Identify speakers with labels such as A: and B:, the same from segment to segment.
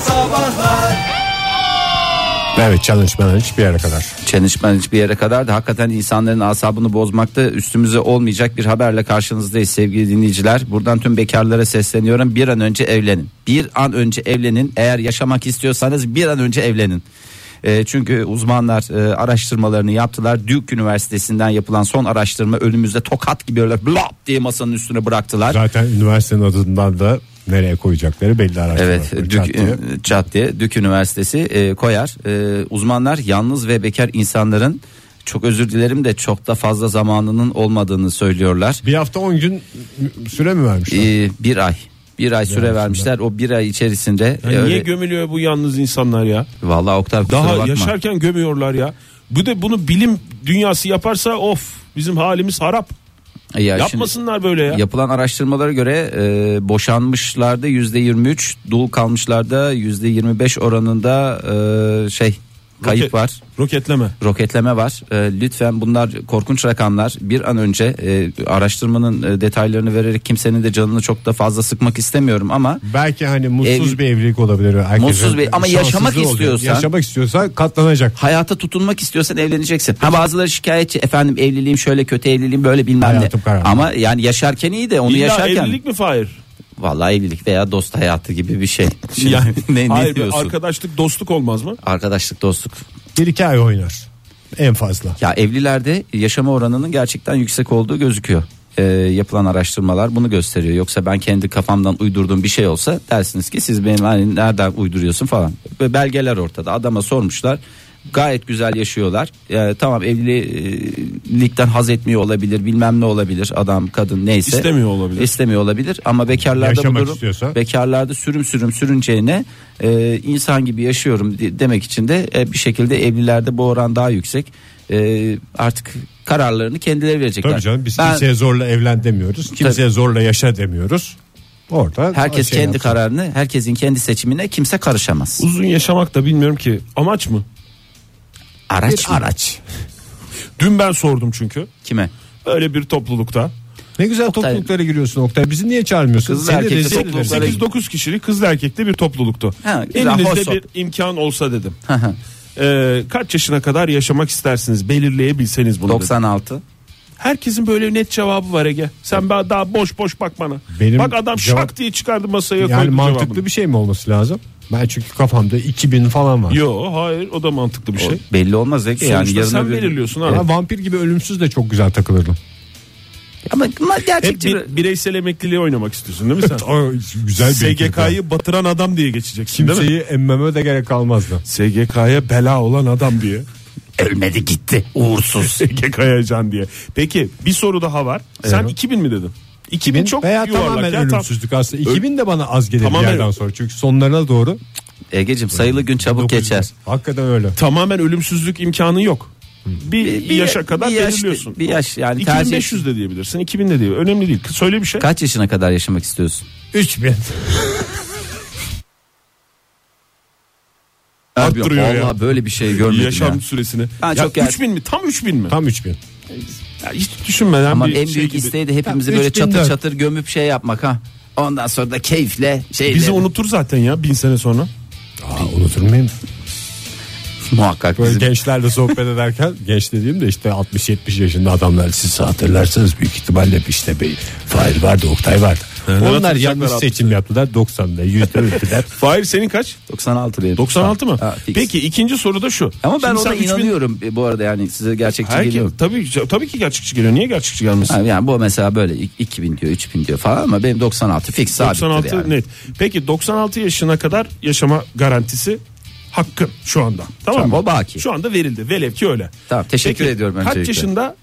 A: Sabahlar
B: Evet çalışmalar hiçbir yere kadar.
C: Çelişmen hiçbir yere kadar da hakikaten insanların asabını bozmakta üstümüze olmayacak bir haberle karşınızdayız sevgili dinleyiciler. Buradan tüm bekarlara sesleniyorum bir an önce evlenin. Bir an önce evlenin eğer yaşamak istiyorsanız bir an önce evlenin. E, çünkü uzmanlar e, araştırmalarını yaptılar. Duke Üniversitesi'nden yapılan son araştırma önümüzde tokat gibi öyle blop diye masanın üstüne bıraktılar.
B: Zaten üniversitenin adından da nereye koyacakları belli araştırma.
C: Evet,
B: Çat
C: Dük,
B: diye.
C: e, Çat diye Dük Üniversitesi e, koyar. E, uzmanlar yalnız ve bekar insanların çok özür dilerim de çok da fazla zamanının olmadığını söylüyorlar.
B: Bir hafta 10 gün süre mi vermişler?
C: E, bir ay, bir ay süre
B: aslında.
C: vermişler. O bir ay içerisinde.
D: Ya
C: e,
D: niye
C: öyle-
D: gömülüyor bu yalnız insanlar ya?
C: Vallahi Oktay kusura
D: Daha
C: bakma.
D: yaşarken gömüyorlar ya. Bu da bunu bilim dünyası yaparsa of bizim halimiz harap.
C: E, ya şimdi-
D: Yapmasınlar böyle ya.
C: Yapılan araştırmalara göre e, boşanmışlarda yüzde 23, dul kalmışlarda yüzde 25 oranında e, şey kayıp
D: Roket-
C: var.
D: Roketleme.
C: roketleme var. E, lütfen bunlar korkunç rakamlar. Bir an önce e, araştırmanın e, detaylarını vererek kimsenin de canını çok da fazla sıkmak istemiyorum ama
B: Belki hani mutsuz
C: Ev-
B: bir evlilik olabilir. Herkesin
C: Mutsuz bir- ama yaşamak
B: şanssızlığı oluyor.
C: istiyorsan-
B: Yaşamak istiyorsan katlanacak.
C: hayata tutunmak istiyorsan evleneceksin. Ha bazıları şikayetçi efendim evliliğim şöyle kötü evliliğim böyle bilmem ne.
B: Hayatım kararlı.
C: Ama yani yaşarken iyi de onu
D: İlla
C: yaşarken
D: evlilik mi Fahir?
C: vallahi evlilik veya dost hayatı gibi bir şey. Şimdi
D: Yani,
C: ne, ne
D: hayır be,
C: diyorsun?
D: arkadaşlık dostluk olmaz mı?
C: Arkadaşlık dostluk.
B: Bir iki ay oynar. En fazla.
C: Ya evlilerde yaşama oranının gerçekten yüksek olduğu gözüküyor. Ee, yapılan araştırmalar bunu gösteriyor. Yoksa ben kendi kafamdan uydurduğum bir şey olsa dersiniz ki siz benim hani nereden uyduruyorsun falan. Ve belgeler ortada. Adama sormuşlar. Gayet güzel yaşıyorlar. Ee, tamam evlilikten haz etmiyor olabilir, bilmem ne olabilir adam, kadın neyse.
D: İstemiyor olabilir.
C: İstemiyor olabilir ama bekarlarda bu
B: Yaşamak
C: durum
B: istiyorsa.
C: bekarlarda sürüm sürüm sürüneceğine e, insan gibi yaşıyorum de- demek için de e, bir şekilde evlilerde bu oran daha yüksek. E, artık kararlarını kendileri verecekler.
B: Tabii canım biz
C: Ben-
B: kimseye zorla evlen demiyoruz. Kimseye zorla yaşa demiyoruz. Orada
C: herkes
B: şey
C: kendi
B: yapsın.
C: kararını, herkesin kendi seçimine kimse karışamaz.
D: Uzun yaşamak da bilmiyorum ki amaç mı?
C: Araç mı?
B: araç.
D: Dün ben sordum çünkü.
C: kime?
D: Böyle bir toplulukta.
B: Ne güzel topluluklara giriyorsun Oktay. Bizi niye çağırmıyorsun?
C: Kızlı
B: Seni
C: erkekli
B: rezil ederiz.
C: topluluklara
B: Sekiz-
D: 8-9 kişilik kızlı erkekli bir topluluktu.
C: Ha, güzel, hoş
D: Elinizde bir
C: sohbet.
D: imkan olsa dedim.
C: Hı hı.
D: Ee, kaç yaşına kadar yaşamak istersiniz belirleyebilseniz bunu. dedim.
C: 96.
D: Herkesin böyle net cevabı var Ege. Sen ba- daha boş boş bak bana.
B: Benim
D: bak adam
B: cevap-
D: şak diye çıkardı masaya
B: Yani
D: koydu
B: mantıklı
D: cevabını.
B: bir şey mi olması lazım? Ben çünkü kafamda 2000 falan var.
D: Yo hayır o da mantıklı bir şey.
C: O belli olmaz Ege yani
D: Sonuçta
C: yarın
D: sen
C: öbür gün-
D: belirliyorsun abi.
B: Ama vampir gibi ölümsüz de çok güzel takılırdım.
C: Ama, ama
D: Hep
C: gerçekçi
D: bir, bireysel emekliliği oynamak istiyorsun değil mi sen?
B: güzel
D: SGK'yı batıran adam diye geçeceksin değil mi?
B: kimseyi emmeme de gerek kalmazdı.
D: SGK'ya bela olan adam diye.
C: ölmedi gitti uğursuz.
D: SGK'ya can diye. Peki bir soru daha var. Sen
B: Evet.
D: 2000 mi dedin? 2000, çok
B: Veya
D: yuvarlak.
B: tamamen
D: ya, tam-
B: ölümsüzlük aslında. 2000 de bana az gelir
D: Tamamen-
B: bir yerden sonra. Çünkü sonlarına doğru.
C: Egeciğim sayılı gün çabuk
B: dokuz yüz.
C: geçer.
B: Hakikaten öyle.
D: tamamen ölümsüzlük imkanı yok. Bir, bir yaşa kadar
C: bir yaş-
D: belirliyorsun.
C: bir yaş yani tercih-
D: 2500 de diyebilirsin, 2000 de diyebilirsin. Önemli değil. Söyle bir şey.
C: Kaç yaşına kadar yaşamak istiyorsun?
B: 3000.
C: Abi
D: Arttırıyor
C: vallahi
D: ya.
C: böyle bir şey görmedim
D: Yaşam
C: ya.
D: süresini.
C: Ha,
D: ya
C: çok gerçek.
D: 3000 mi? Tam 3000 mi?
B: Tam 3000.
D: Ya hiç düşünmeden
C: Ama
D: bir
C: en
D: şey
C: büyük
D: gibi.
C: isteği de hepimizi
B: Ya,
C: böyle
B: üç bin
C: çatır
B: dört.
C: çatır gömüp şey yapmak ha. Ondan sonra da keyifle şeyle
D: Bizi unutur zaten ya bin sene sonra.
B: Aa, unutur muyum?
C: muhakkak
B: Böyle
C: bizim-
B: gençlerle sohbet ederken genç dediğim de işte 60-70 yaşında adamlar siz hatırlarsanız büyük ihtimalle işte bir Fahir vardı Oktay vardı. Onlar
D: hatırlayacaklar
B: yanlış
D: abi.
B: seçim yaptılar 90'da %100'de.
D: Fahir senin kaç?
C: 96 benim.
D: 96 mı?
C: Ha, fix.
D: Peki ikinci soruda şu.
C: Ama ben
D: Şimdi
C: ona
D: sen 3000
C: inanıyorum e, bu arada yani size gerçekçi
D: Herkes,
C: geliyor.
D: tabii, tabii ki gerçekçi geliyor. Niye gerçekçi gelmesin?
C: Ha, Yani bu mesela böyle i- 2000 diyor 3000 diyor falan ama benim 96 fix sabittir
D: 96
C: yani.
D: net. Peki 96 yaşına kadar yaşama garantisi hakkın şu anda. Tamam,
C: Tamam,
D: mı?
C: o baki.
D: Şu anda verildi. Velev ki öyle.
C: Tamam, teşekkür
D: Peki,
C: ediyorum
D: Kaç
C: öncelikle.
D: yaşında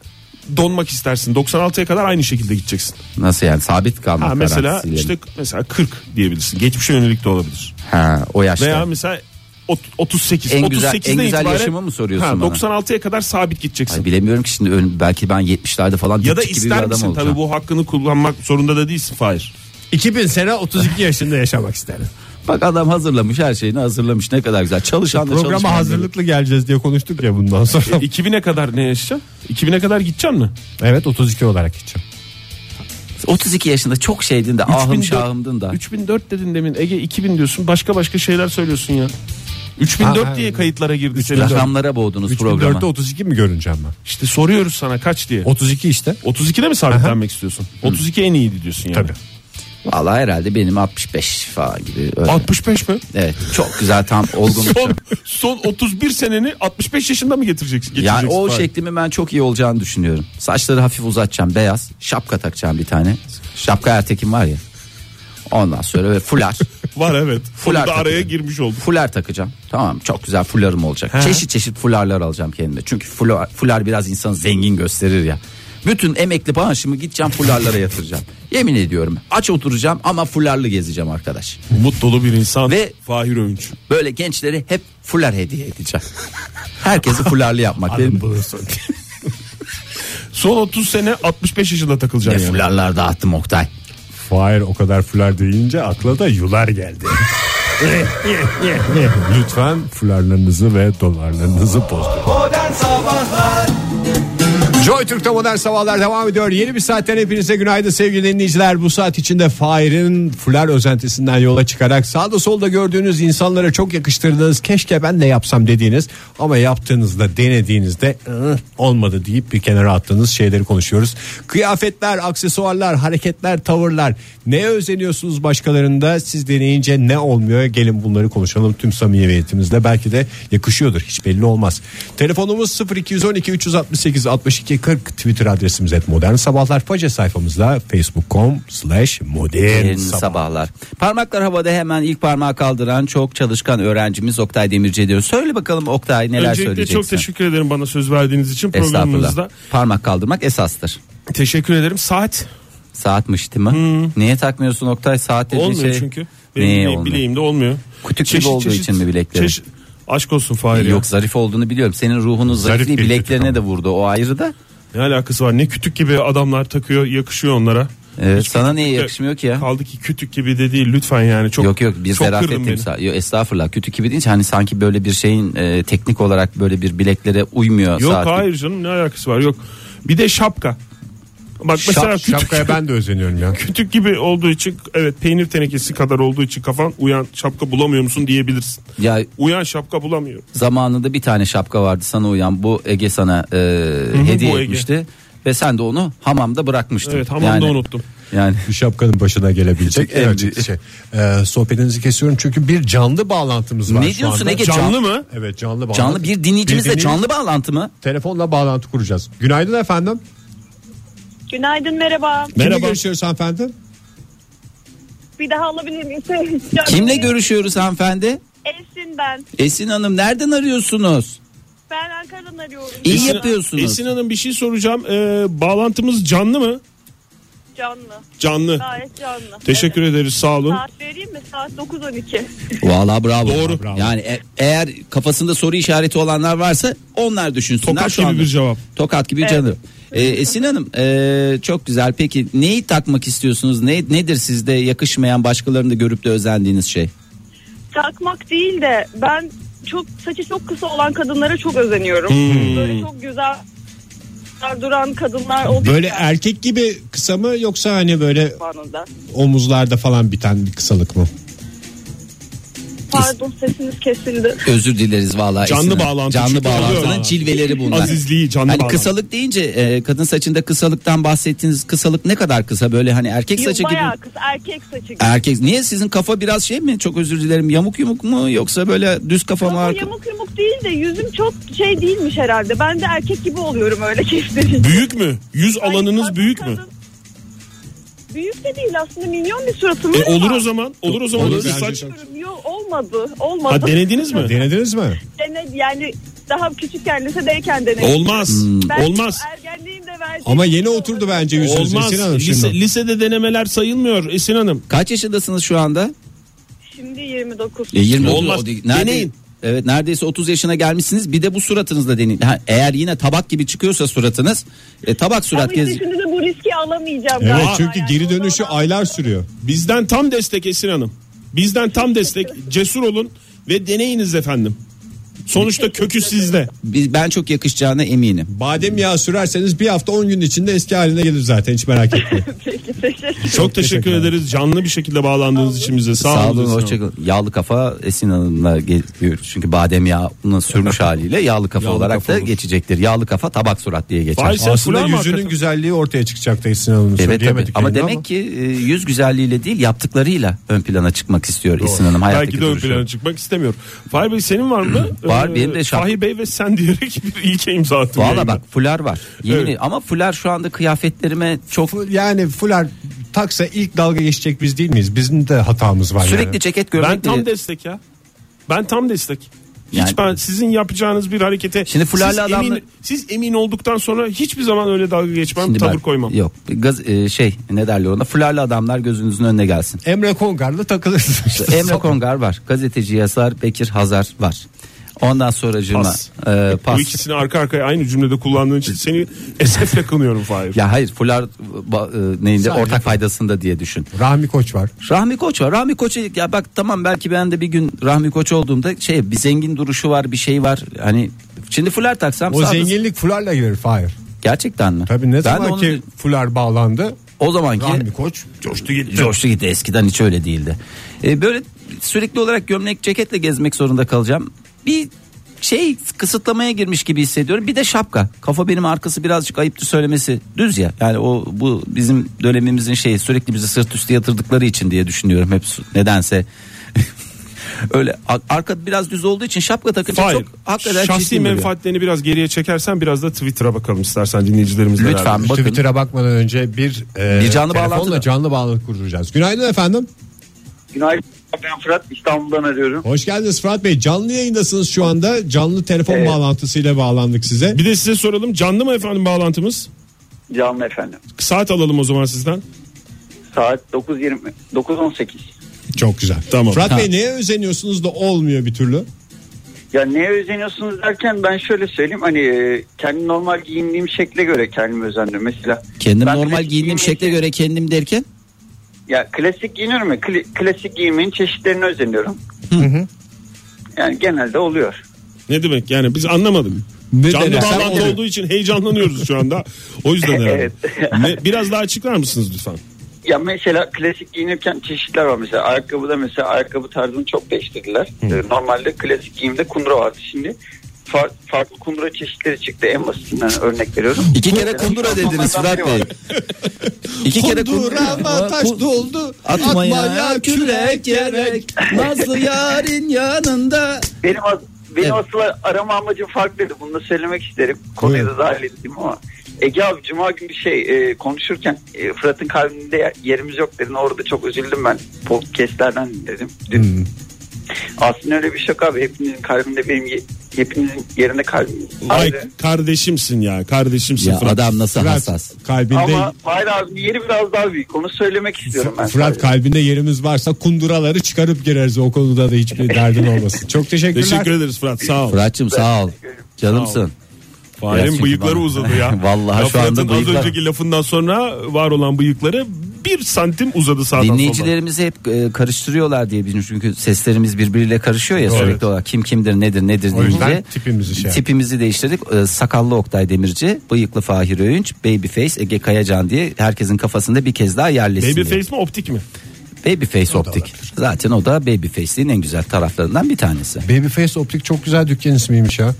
D: donmak istersin? 96'ya kadar aynı şekilde gideceksin.
C: Nasıl yani sabit kalmak
D: Ha, mesela
C: garantisiyle mi?
D: işte mesela 40 diyebilirsin. Geçmişe yönelik de olabilir.
C: ha, o yaşta.
D: Veya mesela ot- 38.
C: En
D: 38'den
C: güzel- en güzel
D: itibaren-
C: yaşamı mı soruyorsun
D: ha,
C: bana?
D: 96'ya kadar sabit gideceksin.
C: Ay, bilemiyorum ki şimdi ön- belki ben 70'lerde falan
D: ya da
C: dipçik gibi bir
D: ister
C: adam
D: misin? Tabii
C: olacağım.
D: bu hakkını kullanmak zorunda da değilsin Fahir.
B: 2000 sene 32 yaşında yaşamak isterim.
C: Bak adam hazırlamış her şeyini hazırlamış ne kadar güzel. Çalışan da
B: Programa
C: çalışmayan da-
B: hazırlıklı geleceğiz diye konuştuk ya bundan sonra.
D: 2000'e kadar ne yaşayacaksın? 2000'e kadar gideceksin mi?
B: evet 32 olarak gideceğim.
C: 32 yaşında çok şeydin de ahım
D: 3004
C: şahımdın da.
D: 3004 dedin demin Ege 2000 diyorsun başka başka şeyler söylüyorsun ya. 3004
B: Ha, ha,
D: diye kayıtlara girdi senin.
C: Rakamlara boğdunuz programa.
B: 3004'te 32 mi görüneceğim ben?
D: İşte soruyoruz sana kaç diye.
B: 32 işte.
D: 32'de mi sabitlenmek istiyorsun? 32 en iyiydi diyorsun yani.
B: Tabii.
C: Vallahi herhalde benim 65 falan gibi. öyle.
D: 65 mi?
C: Evet çok güzel tam olgun.
D: Son, son 31 seneni 65 yaşında mı getireceksin?
C: Yani
D: Getireceksin
C: o şey
D: bari.
C: şeklimi ben çok iyi olacağını düşünüyorum. Saçları hafif uzatacağım beyaz. Şapka takacağım bir tane. Şapka Ertekin var ya. Ondan sonra böyle fular.
D: Var evet.
C: Full
D: Onu da
C: artık.
D: araya girmiş oldum.
C: fular takacağım. Tamam mı? çok güzel fularım olacak. Çeşit çeşit fularlar alacağım kendime. Çünkü fular, fular biraz insanı zengin gösterir ya. Bütün emekli bağışımı gideceğim fularlara yatıracağım. Yemin ediyorum aç oturacağım ama fularlı gezeceğim arkadaş.
D: Umut dolu bir insan
C: Ve-
D: Fahir Öğünç.
C: Böyle gençleri hep fular hediye edeceğim. Herkesi fularlı yapmak benim.
D: Son 30 sene 65 yaşında
C: Ne
D: takılacaksın yani.
C: fularlar dağıttım Oktay.
B: Fahir o kadar fular deyince akla da yular geldi. Lütfen fularlarınızı ve dolarlarınızı bozdurun. Joy Türk'te modern sabahlar devam ediyor. Yeni bir saatten hepinize günaydın sevgili dinleyiciler. Bu saat içinde Fahir'in fular özentisinden yola çıkarak sağda solda gördüğünüz insanlara çok yakıştırdığınız keşke ben de yapsam dediğiniz ama yaptığınızda denediğinizde "Ih, olmadı deyip bir kenara attığınız şeyleri konuşuyoruz. Kıyafetler, aksesuarlar, hareketler, tavırlar. Neye özeniyorsunuz başkalarında? Siz deneyince ne olmuyor? Gelin bunları konuşalım tüm samimiyetimizle. Belki de yakışıyordur. Hiç belli olmaz. Telefonumuz 0212 368 62 40 Twitter adresimiz et modern sabahlar. Faça sayfamızda facebook.com slash modern
C: Yeni sabahlar. Parmaklar havada hemen ilk parmağı kaldıran çok çalışkan öğrencimiz Oktay Demirci diyor. Söyle bakalım Oktay neler
D: Öncelikle
C: söyleyeceksin.
D: çok teşekkür ederim bana söz verdiğiniz için
C: Estağfurullah.
D: programımızda.
C: Parmak kaldırmak esastır.
D: Teşekkür ederim. Saat
C: Saatmiş değil mi? Niye takmıyorsun Oktay saat dediğin
D: olmuyor
C: şey?
D: çünkü.
C: Neye
D: Benim bile-
C: olmuyor?
D: bileğimde olmuyor.
C: Kütük gibi olduğu için mi bilekleri?
D: çeşit- aşk olsun Fahir ya.
C: Yok zarif olduğunu biliyorum. Senin ruhunun zarifliği
B: bir
C: bileklerine
B: çocuk
C: de vurdu. O ayrı da.
D: Ne alakası var? Ne kütük gibi adamlar takıyor yakışıyor onlara.
C: Evet,
D: Hiç
C: Ee, sana
D: kütük
C: niye
D: de-
C: yakışmıyor ki ya?
D: Kaldı ki kütük gibi de değil lütfen yani. Çok,
C: yok yok bir
D: çok
C: zarafet
D: kırdın beni.
C: timsahı. Yok estağfurullah. Kötü gibi deyince hani sanki böyle bir şeyin e, teknik olarak böyle bir bileklere uymuyor
D: Yok
C: saat.
D: hayır canım ne alakası var yok. Bir de şapka. Bak mesela
B: Şap-
D: kütük,
B: Şapkaya ben de özeniyorum ya.
D: kütük gibi olduğu için evet peynir tenekesi kadar olduğu için kafan uyan şapka bulamıyor musun diyebilirsin.
C: Ya
D: Uyan şapka bulamıyor.
C: zamanında bir tane şapka vardı sana uyan. Bu Ege sana e, hediye
D: bu Ege.
C: etmişti. Ve sen de onu hamamda bırakmıştın.
D: Evet, hamamda unuttum.
C: Yani
B: Bu şapkanın başına gelebilecek en acı şey. Ee, sohbetinizi kesiyorum çünkü bir canlı bağlantımız var
C: Ne
B: şu
C: diyorsun
B: anda.
C: Ege?
D: Canlı mı?
B: Evet canlı bağlantı.
C: canlı bir dinleyicimizle
B: dinleyici-
C: canlı bağlantı mı?
B: Telefonla bağlantı kuracağız. Günaydın efendim.
E: Günaydın merhaba.
B: Kimle görüşüyoruz hanımefendi?
E: Bir daha alabilir miyim? Şey,
C: Kimle görüşüyoruz hanımefendi?
E: Esin ben.
C: Esin Hanım nereden arıyorsunuz?
E: Ben Ankara'dan arıyorum.
C: İyi
D: Esin-
C: yapıyorsunuz.
D: Esin Hanım bir şey soracağım. Ee, bağlantımız canlı mı?
E: Canlı.
D: Canlı.
E: Gayet canlı.
D: Teşekkür ederiz sağ olun.
E: Evet. Saat vereyim mi? Saat 9.12.
C: Valla bravo.
D: Doğru.
C: Bravo. Yani e- eğer kafasında soru işareti olanlar varsa onlar düşünsünler.
D: Tokat
C: şu
D: gibi
C: anda.
D: bir cevap.
C: Tokat gibi bir
E: Evet.
C: canı. Ee, Esin Hanım e, çok güzel. Peki neyi takmak istiyorsunuz? Ne, nedir sizde yakışmayan başkalarını görüp de özendiğiniz şey?
E: Takmak değil de ben çok saçı çok kısa olan kadınlara çok özeniyorum.
C: Hmm.
E: Böyle çok güzel duran kadınlar oluyor.
B: Böyle erkek gibi kısa mı yoksa hani böyle
E: Anında.
B: omuzlarda falan biten bir kısalık mı?
E: Pardon sesiniz kesildi.
C: Özür dileriz valla.
D: Canlı
C: Esin Hanım.
D: bağlantı
C: Canlı
D: çünkü
C: bağlantının
D: oluyor.
C: cilveleri bunlar.
D: Azizliği canlı
C: Hani
D: bağlantı.
C: kısalık deyince e, kadın saçında kısalıktan bahsettiğiniz kısalık ne kadar kısa böyle hani erkek saçı gibi
E: Bayağı kız erkek saçı gibi.
C: Erkek niye sizin kafa biraz şey mi çok özür dilerim yamuk yumuk mu yoksa böyle düz kafa mı
E: Ama
C: arka-
E: yamuk yumuk değil de yüzüm çok şey değilmiş herhalde. Ben de erkek gibi oluyorum öyle kestirince.
D: Büyük mü? Yüz
E: Ay,
D: alanınız
E: bak,
D: büyük mü?
E: kadın- Büyük de değil aslında milyon bir suratım var
D: E, olur
E: ama-
D: o zaman. Olur o zaman.
B: Olur.
D: Bir saç.
E: Yok olmadı. Olmadı.
D: Ha denediniz mi?
B: Denediniz mi?
E: Dene- yani daha küçükken lisedeyken denedim.
D: Olmaz.
E: Ben
D: Olmaz.
E: Ergenliğin de verdiği
B: Ama yeni
E: şey
B: oturdu
E: olmadı.
B: bence yüzünüz
D: Olmaz.
B: Esin Hanım
D: Lise-
B: şimdi.
D: lisede denemeler sayılmıyor Esin Hanım.
C: Kaç yaşındasınız şu anda?
E: Şimdi 29.
C: E, 20
D: Olmaz.
C: o değil. Nerede-
D: Deneyin.
C: Evet neredeyse 30 yaşına gelmişsiniz. Bir de bu suratınızla deneyin. Ha, eğer yine tabak gibi çıkıyorsa suratınız, e, tabak
E: Ama
C: surat
E: işte
C: gez.
E: şimdi de bu riski alamayacağım.
B: Evet
E: galiba
B: çünkü
E: yani.
B: geri
E: O
B: dönüşü
E: zaman-
B: aylar sürüyor.
D: Bizden tam destek Esin Hanım. Bizden tam destek. Cesur olun ve deneyiniz efendim. Sonuçta kökü sizde.
C: Biz- Ben çok yakışacağına eminim.
B: Badem yağı sürerseniz bir hafta 10 gün içinde eski haline gelir zaten hiç merak etmeyin.
E: Peki teşekkür
D: Çok teşekkür ederiz canlı bir şekilde bağlandığınız için bize. Sağ,
C: Sağ olun
D: olun.
C: hoşçakalın. Yağlı kafa Esin Hanım'la geliyor. Çünkü badem yağını sürmüş haliyle yağlı kafa
D: Yağlı
C: olarak
D: kafa
C: da
D: olur.
C: geçecektir. Yağlı kafa tabak surat diye geçer.
D: Faysel
B: Aslında
D: Fula mı
B: yüzünün
D: hakikaten?
B: güzelliği ortaya çıkacak da Esin Hanım'ın
C: Evet tabii.
B: söyleyemedik
C: ama
B: yayında
C: demek ki e, yüz güzelliğiyle değil yaptıklarıyla ön plana çıkmak istiyor Esin Hanım. hayattaki
D: Belki de ön
C: duruşu.
D: plana çıkmak istemiyor. Fahir Bey senin var mı? Ee,
C: Var, benim de şap-
D: Fahir Bey ve sen diyerek bir ilke imza attın.
C: Valla
D: yayına.
C: bak fular var. Yeni
D: Evet.
C: ama fular şu anda kıyafetlerime çok
B: Fu- Yani fular taksa ilk dalga geçecek biz değil miyiz? Bizim de hatamız var yani.
C: sürekli ceket
D: Ben
C: görmek
D: tam
C: bile-
D: destek ya. Ben tam destek. Hiç
C: Yani-
D: ben sizin yapacağınız bir harekete
C: Şimdi fularlı
D: siz,
C: adamla-
D: emin, siz emin olduktan sonra hiçbir zaman öyle dalga geçmem
C: Şimdi
D: tavır
C: ben-
D: koymam.
C: Yok gaz, e, şey ne derler ona fularlı adamlar gözünüzün önüne gelsin.
B: Emre Kongar'la takılırsın. işte.
C: Emre Kongar var. Gazeteci Yasar Bekir Hazar var. Ondan sonra e,
D: Pas. E,
C: pas.
D: Bu ikisini arka arkaya aynı cümlede kullandığın için seni esefle kınıyorum Fahir.
C: Ya hayır fular ba- e, neyinde
B: Sadece-
C: ortak faydasında diye düşün.
B: Rahmi Koç var.
C: Rahmi Koç var. Rahmi Koç'a ya bak tamam belki ben de bir gün Rahmi Koç olduğumda şey bir zengin duruşu var bir şey var. Hani şimdi fular taksam
B: O
C: sağda-
B: zenginlik fularla gelir Fahir.
C: gerçekten mi?
B: Tabii ne
C: Ben de
B: zaman
C: onu-
B: ki fular bağlandı
C: o zamanki
B: Rahmi Koç
D: Coştu gitti.
C: Coştu gitti eskiden hiç öyle değildi. E, böyle sürekli olarak gömlek ceketle gezmek zorunda kalacağım. Bir şey kısıtlamaya girmiş gibi hissediyorum. Bir de şapka. Kafa benim arkası birazcık ayıptı söylemesi düz ya. Yani o bu bizim dönemimizin şeyi sürekli bizi sırt üstü yatırdıkları için diye düşünüyorum hep su- nedense. öyle a- arka biraz düz olduğu için şapka takınca
D: Fahir,
C: çok hakikaten
D: şahsi
C: çirkin duruyor.
D: menfaatlerini biraz geriye çekersen biraz da Twitter'a bakalım istersen dinleyicilerimizle.
C: Lütfen.
D: beraber.
C: Bakın.
B: Twitter'a bakmadan önce bir, e,
C: Bir canlı
B: telefonla
C: bağlantı da.
B: canlı bağlantı kuracağız. Günaydın efendim.
F: Günaydın. Ben Fırat İstanbul'dan arıyorum.
B: Hoş geldiniz Fırat Bey. Canlı yayındasınız şu anda. Canlı telefon
F: Evet.
B: bağlantısıyla bağlandık size.
D: Bir de size soralım canlı mı efendim bağlantımız?
F: Canlı efendim.
D: Saat alalım o zaman sizden.
F: Saat 9.20 9.18.
B: Çok güzel.
D: Tamam.
B: Fırat
C: Ha.
B: Bey neye özeniyorsunuz da olmuyor bir türlü?
F: Ya neye özeniyorsunuz derken ben şöyle söyleyeyim hani e, kendi normal giyindiğim şekle göre kendimi özendim mesela.
C: Kendim
F: ben
C: normal
F: klasik
C: giyindiğim
F: giyinmeyi-
C: şekle göre kendim derken
F: Ya klasik giyiniyorum ya kli- klasik giyimin çeşitlerine özeniyorum. Yani genelde oluyor.
D: Ne demek yani biz anlamadık.
B: Ne
D: Canlı
B: demek? Sen
D: bağlantı
B: oluyor.
D: olduğu için heyecanlanıyoruz şu anda. O yüzden herhalde.
F: Evet.
D: Ne- Biraz daha açıklar mısınız lütfen?
F: Ya mesela klasik giyinirken çeşitler var mesela ayakkabıda mesela ayakkabı tarzını çok değiştirdiler. Ee, Normalde klasik giyimde kundura vardı şimdi far- farklı kundura çeşitleri çıktı en basitinden örnek veriyorum.
C: İki kere kundura dediniz Fırat Bey. İki kere kundura.
B: Kundurama taş doldu.
C: Atma ya kürek gerek. Nazlı yarın yanında.
F: Benim, as- benim
C: Evet.
F: asıl arama amacım farklıydı. Bunu da söylemek isterim. Konuya da dahil ettim ama. Ege abi Cuma günü şey e, konuşurken e, Fırat'ın kalbinde yer- yerimiz yok dedin. Orada çok üzüldüm ben. Podcastlerden dedim. Dün. Aslında öyle bir şaka abi. Hepinizin kalbinde benim ye- hepinizin yerinde kalbim.
D: Ay
F: ayrı.
D: kardeşimsin ya kardeşimsin
C: Ya
D: Fırat.
C: adam nasıl hassas.
B: Kalbinde
F: Ama Fahir abi yeri biraz daha büyük. Onu söylemek istiyorum ben.
B: Fırat
F: sadece.
B: kalbinde yerimiz varsa kunduraları çıkarıp gireriz. O konuda da hiçbir derdin olmasın. Çok teşekkürler.
D: Teşekkür ederiz Fırat sağ ol.
C: Fırat'cığım sağ ol. Canımsın. Biraz
D: Fahir'in
C: çünkü
D: bıyıkları
C: bana-
D: uzadı ya.
C: Vallahi
D: Ya
C: şu anda
D: Fırat'ın
C: bıyıklar-
D: az önceki lafından sonra var olan bıyıkları bir santim uzadı sağdan sola.
C: Dinleyicilerimizi hep e, karıştırıyorlar diye bizim çünkü seslerimiz birbiriyle karışıyor ya sürekli olarak kim kimdir nedir nedir
B: O yüzden
C: deyince
B: tipimizi şey yaptık.
C: tipimizi değiştirdik. E, sakallı Oktay Demirci, bıyıklı Fahir Öğünç, Babyface Ege Kayacan diye herkesin kafasında bir kez daha yerleşsin. diye.
D: Babyface mi optik mi?
C: Babyface optik. Zaten o da Babyface'liğin en güzel taraflarından bir tanesi.
B: Babyface Optik çok güzel dükkan ismiymiş ya.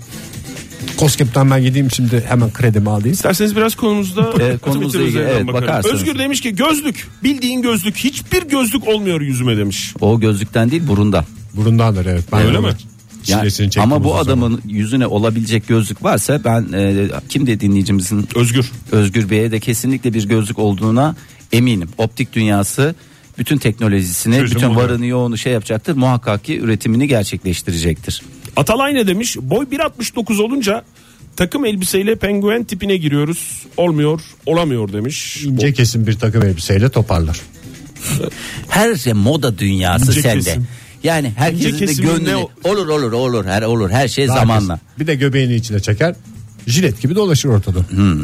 B: Koskep'ten ben gideyim şimdi hemen kredimi alayım.
D: İsterseniz biraz konumuzda
C: E, konumuzla
D: Twitter
C: ilgili,
D: üzerinden
C: evet,
D: bakalım.
C: bakarsınız.
D: Özgür demiş ki gözlük bildiğin gözlük hiçbir gözlük olmuyor yüzüme demiş.
C: O gözlükten değil burunda.
B: Burundandır evet. Ben
D: Öyle mi?
C: Ya,
B: Çilesini çektim
C: ama bu
B: uzun zaman.
C: adamın yüzüne olabilecek gözlük varsa ben e, kim de dinleyicimizin
D: Özgür.
C: Özgür Bey'e de kesinlikle bir gözlük olduğuna eminim. Optik dünyası bütün teknolojisini,
D: Çözüm
C: bütün
D: budur.
C: varını yoğunu şey yapacaktır. Muhakkak ki üretimini gerçekleştirecektir.
D: Atalay ne demiş? Boy 1.69 olunca takım elbiseyle penguen tipine giriyoruz. Olmuyor, olamıyor demiş.
B: ince kesim bir takım elbiseyle toparlar.
C: Her şey moda dünyası
D: İnce
C: sende.
D: kesim.
C: Yani herkesin de
D: kesimin
C: gönlü
D: ne o-
C: olur olur olur her olur her şey
B: Daha
C: zamanla.
B: kesin. Bir de göbeğini içine çeker. jilet gibi dolaşır ortada.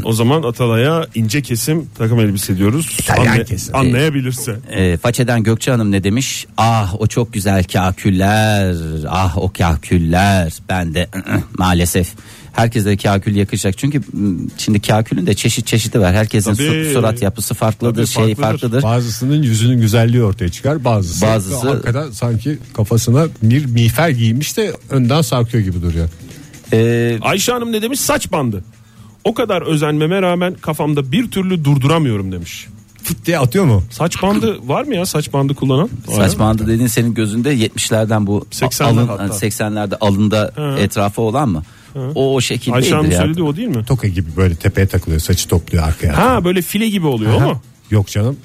D: O zaman Atalay'a ince kesim takım elbise diyoruz.
B: İtalyan kesim.
D: Anlayabilirse.
C: Ee, Façeden Gökçe Hanım ne demiş? Ah o çok güzel kaküller. Ah o kaküller. Ben de ı, ı, maalesef. Herkese de kakül yakışacak. Çünkü m, şimdi kakülün de çeşit çeşidi var. Herkesin su-
D: Tabii.
C: surat yapısı farklıdır,
D: Tabii,
C: şeyi
D: farklıdır.
C: farklıdır.
B: Bazısının yüzünün güzelliği ortaya çıkar. Bazısı,
C: Bazısı-
B: hakikaten sanki kafasına bir miğfer giymiş de önden sarkıyor gibi duruyor.
C: Ee,
D: Ayşe Hanım ne demiş? Saç bandı. O kadar özenmeme rağmen kafamda bir türlü durduramıyorum demiş.
B: Fıt diye atıyor mu?
D: Saç bandı var mı ya saç bandı kullanan?
C: saçmalandı dediğin senin gözünde 70'lerden bu
D: 80'ler
C: alın,
D: hatta.
C: 80'lerde alında etrafı olan mı? O o şekilde
D: Ayşe Hanım
C: değildir ya.
D: söyledi o değil mi?
B: Toka gibi böyle tepeye takılıyor saçı topluyor arkaya.
D: Ha böyle file gibi oluyor ama.
B: Yok canım.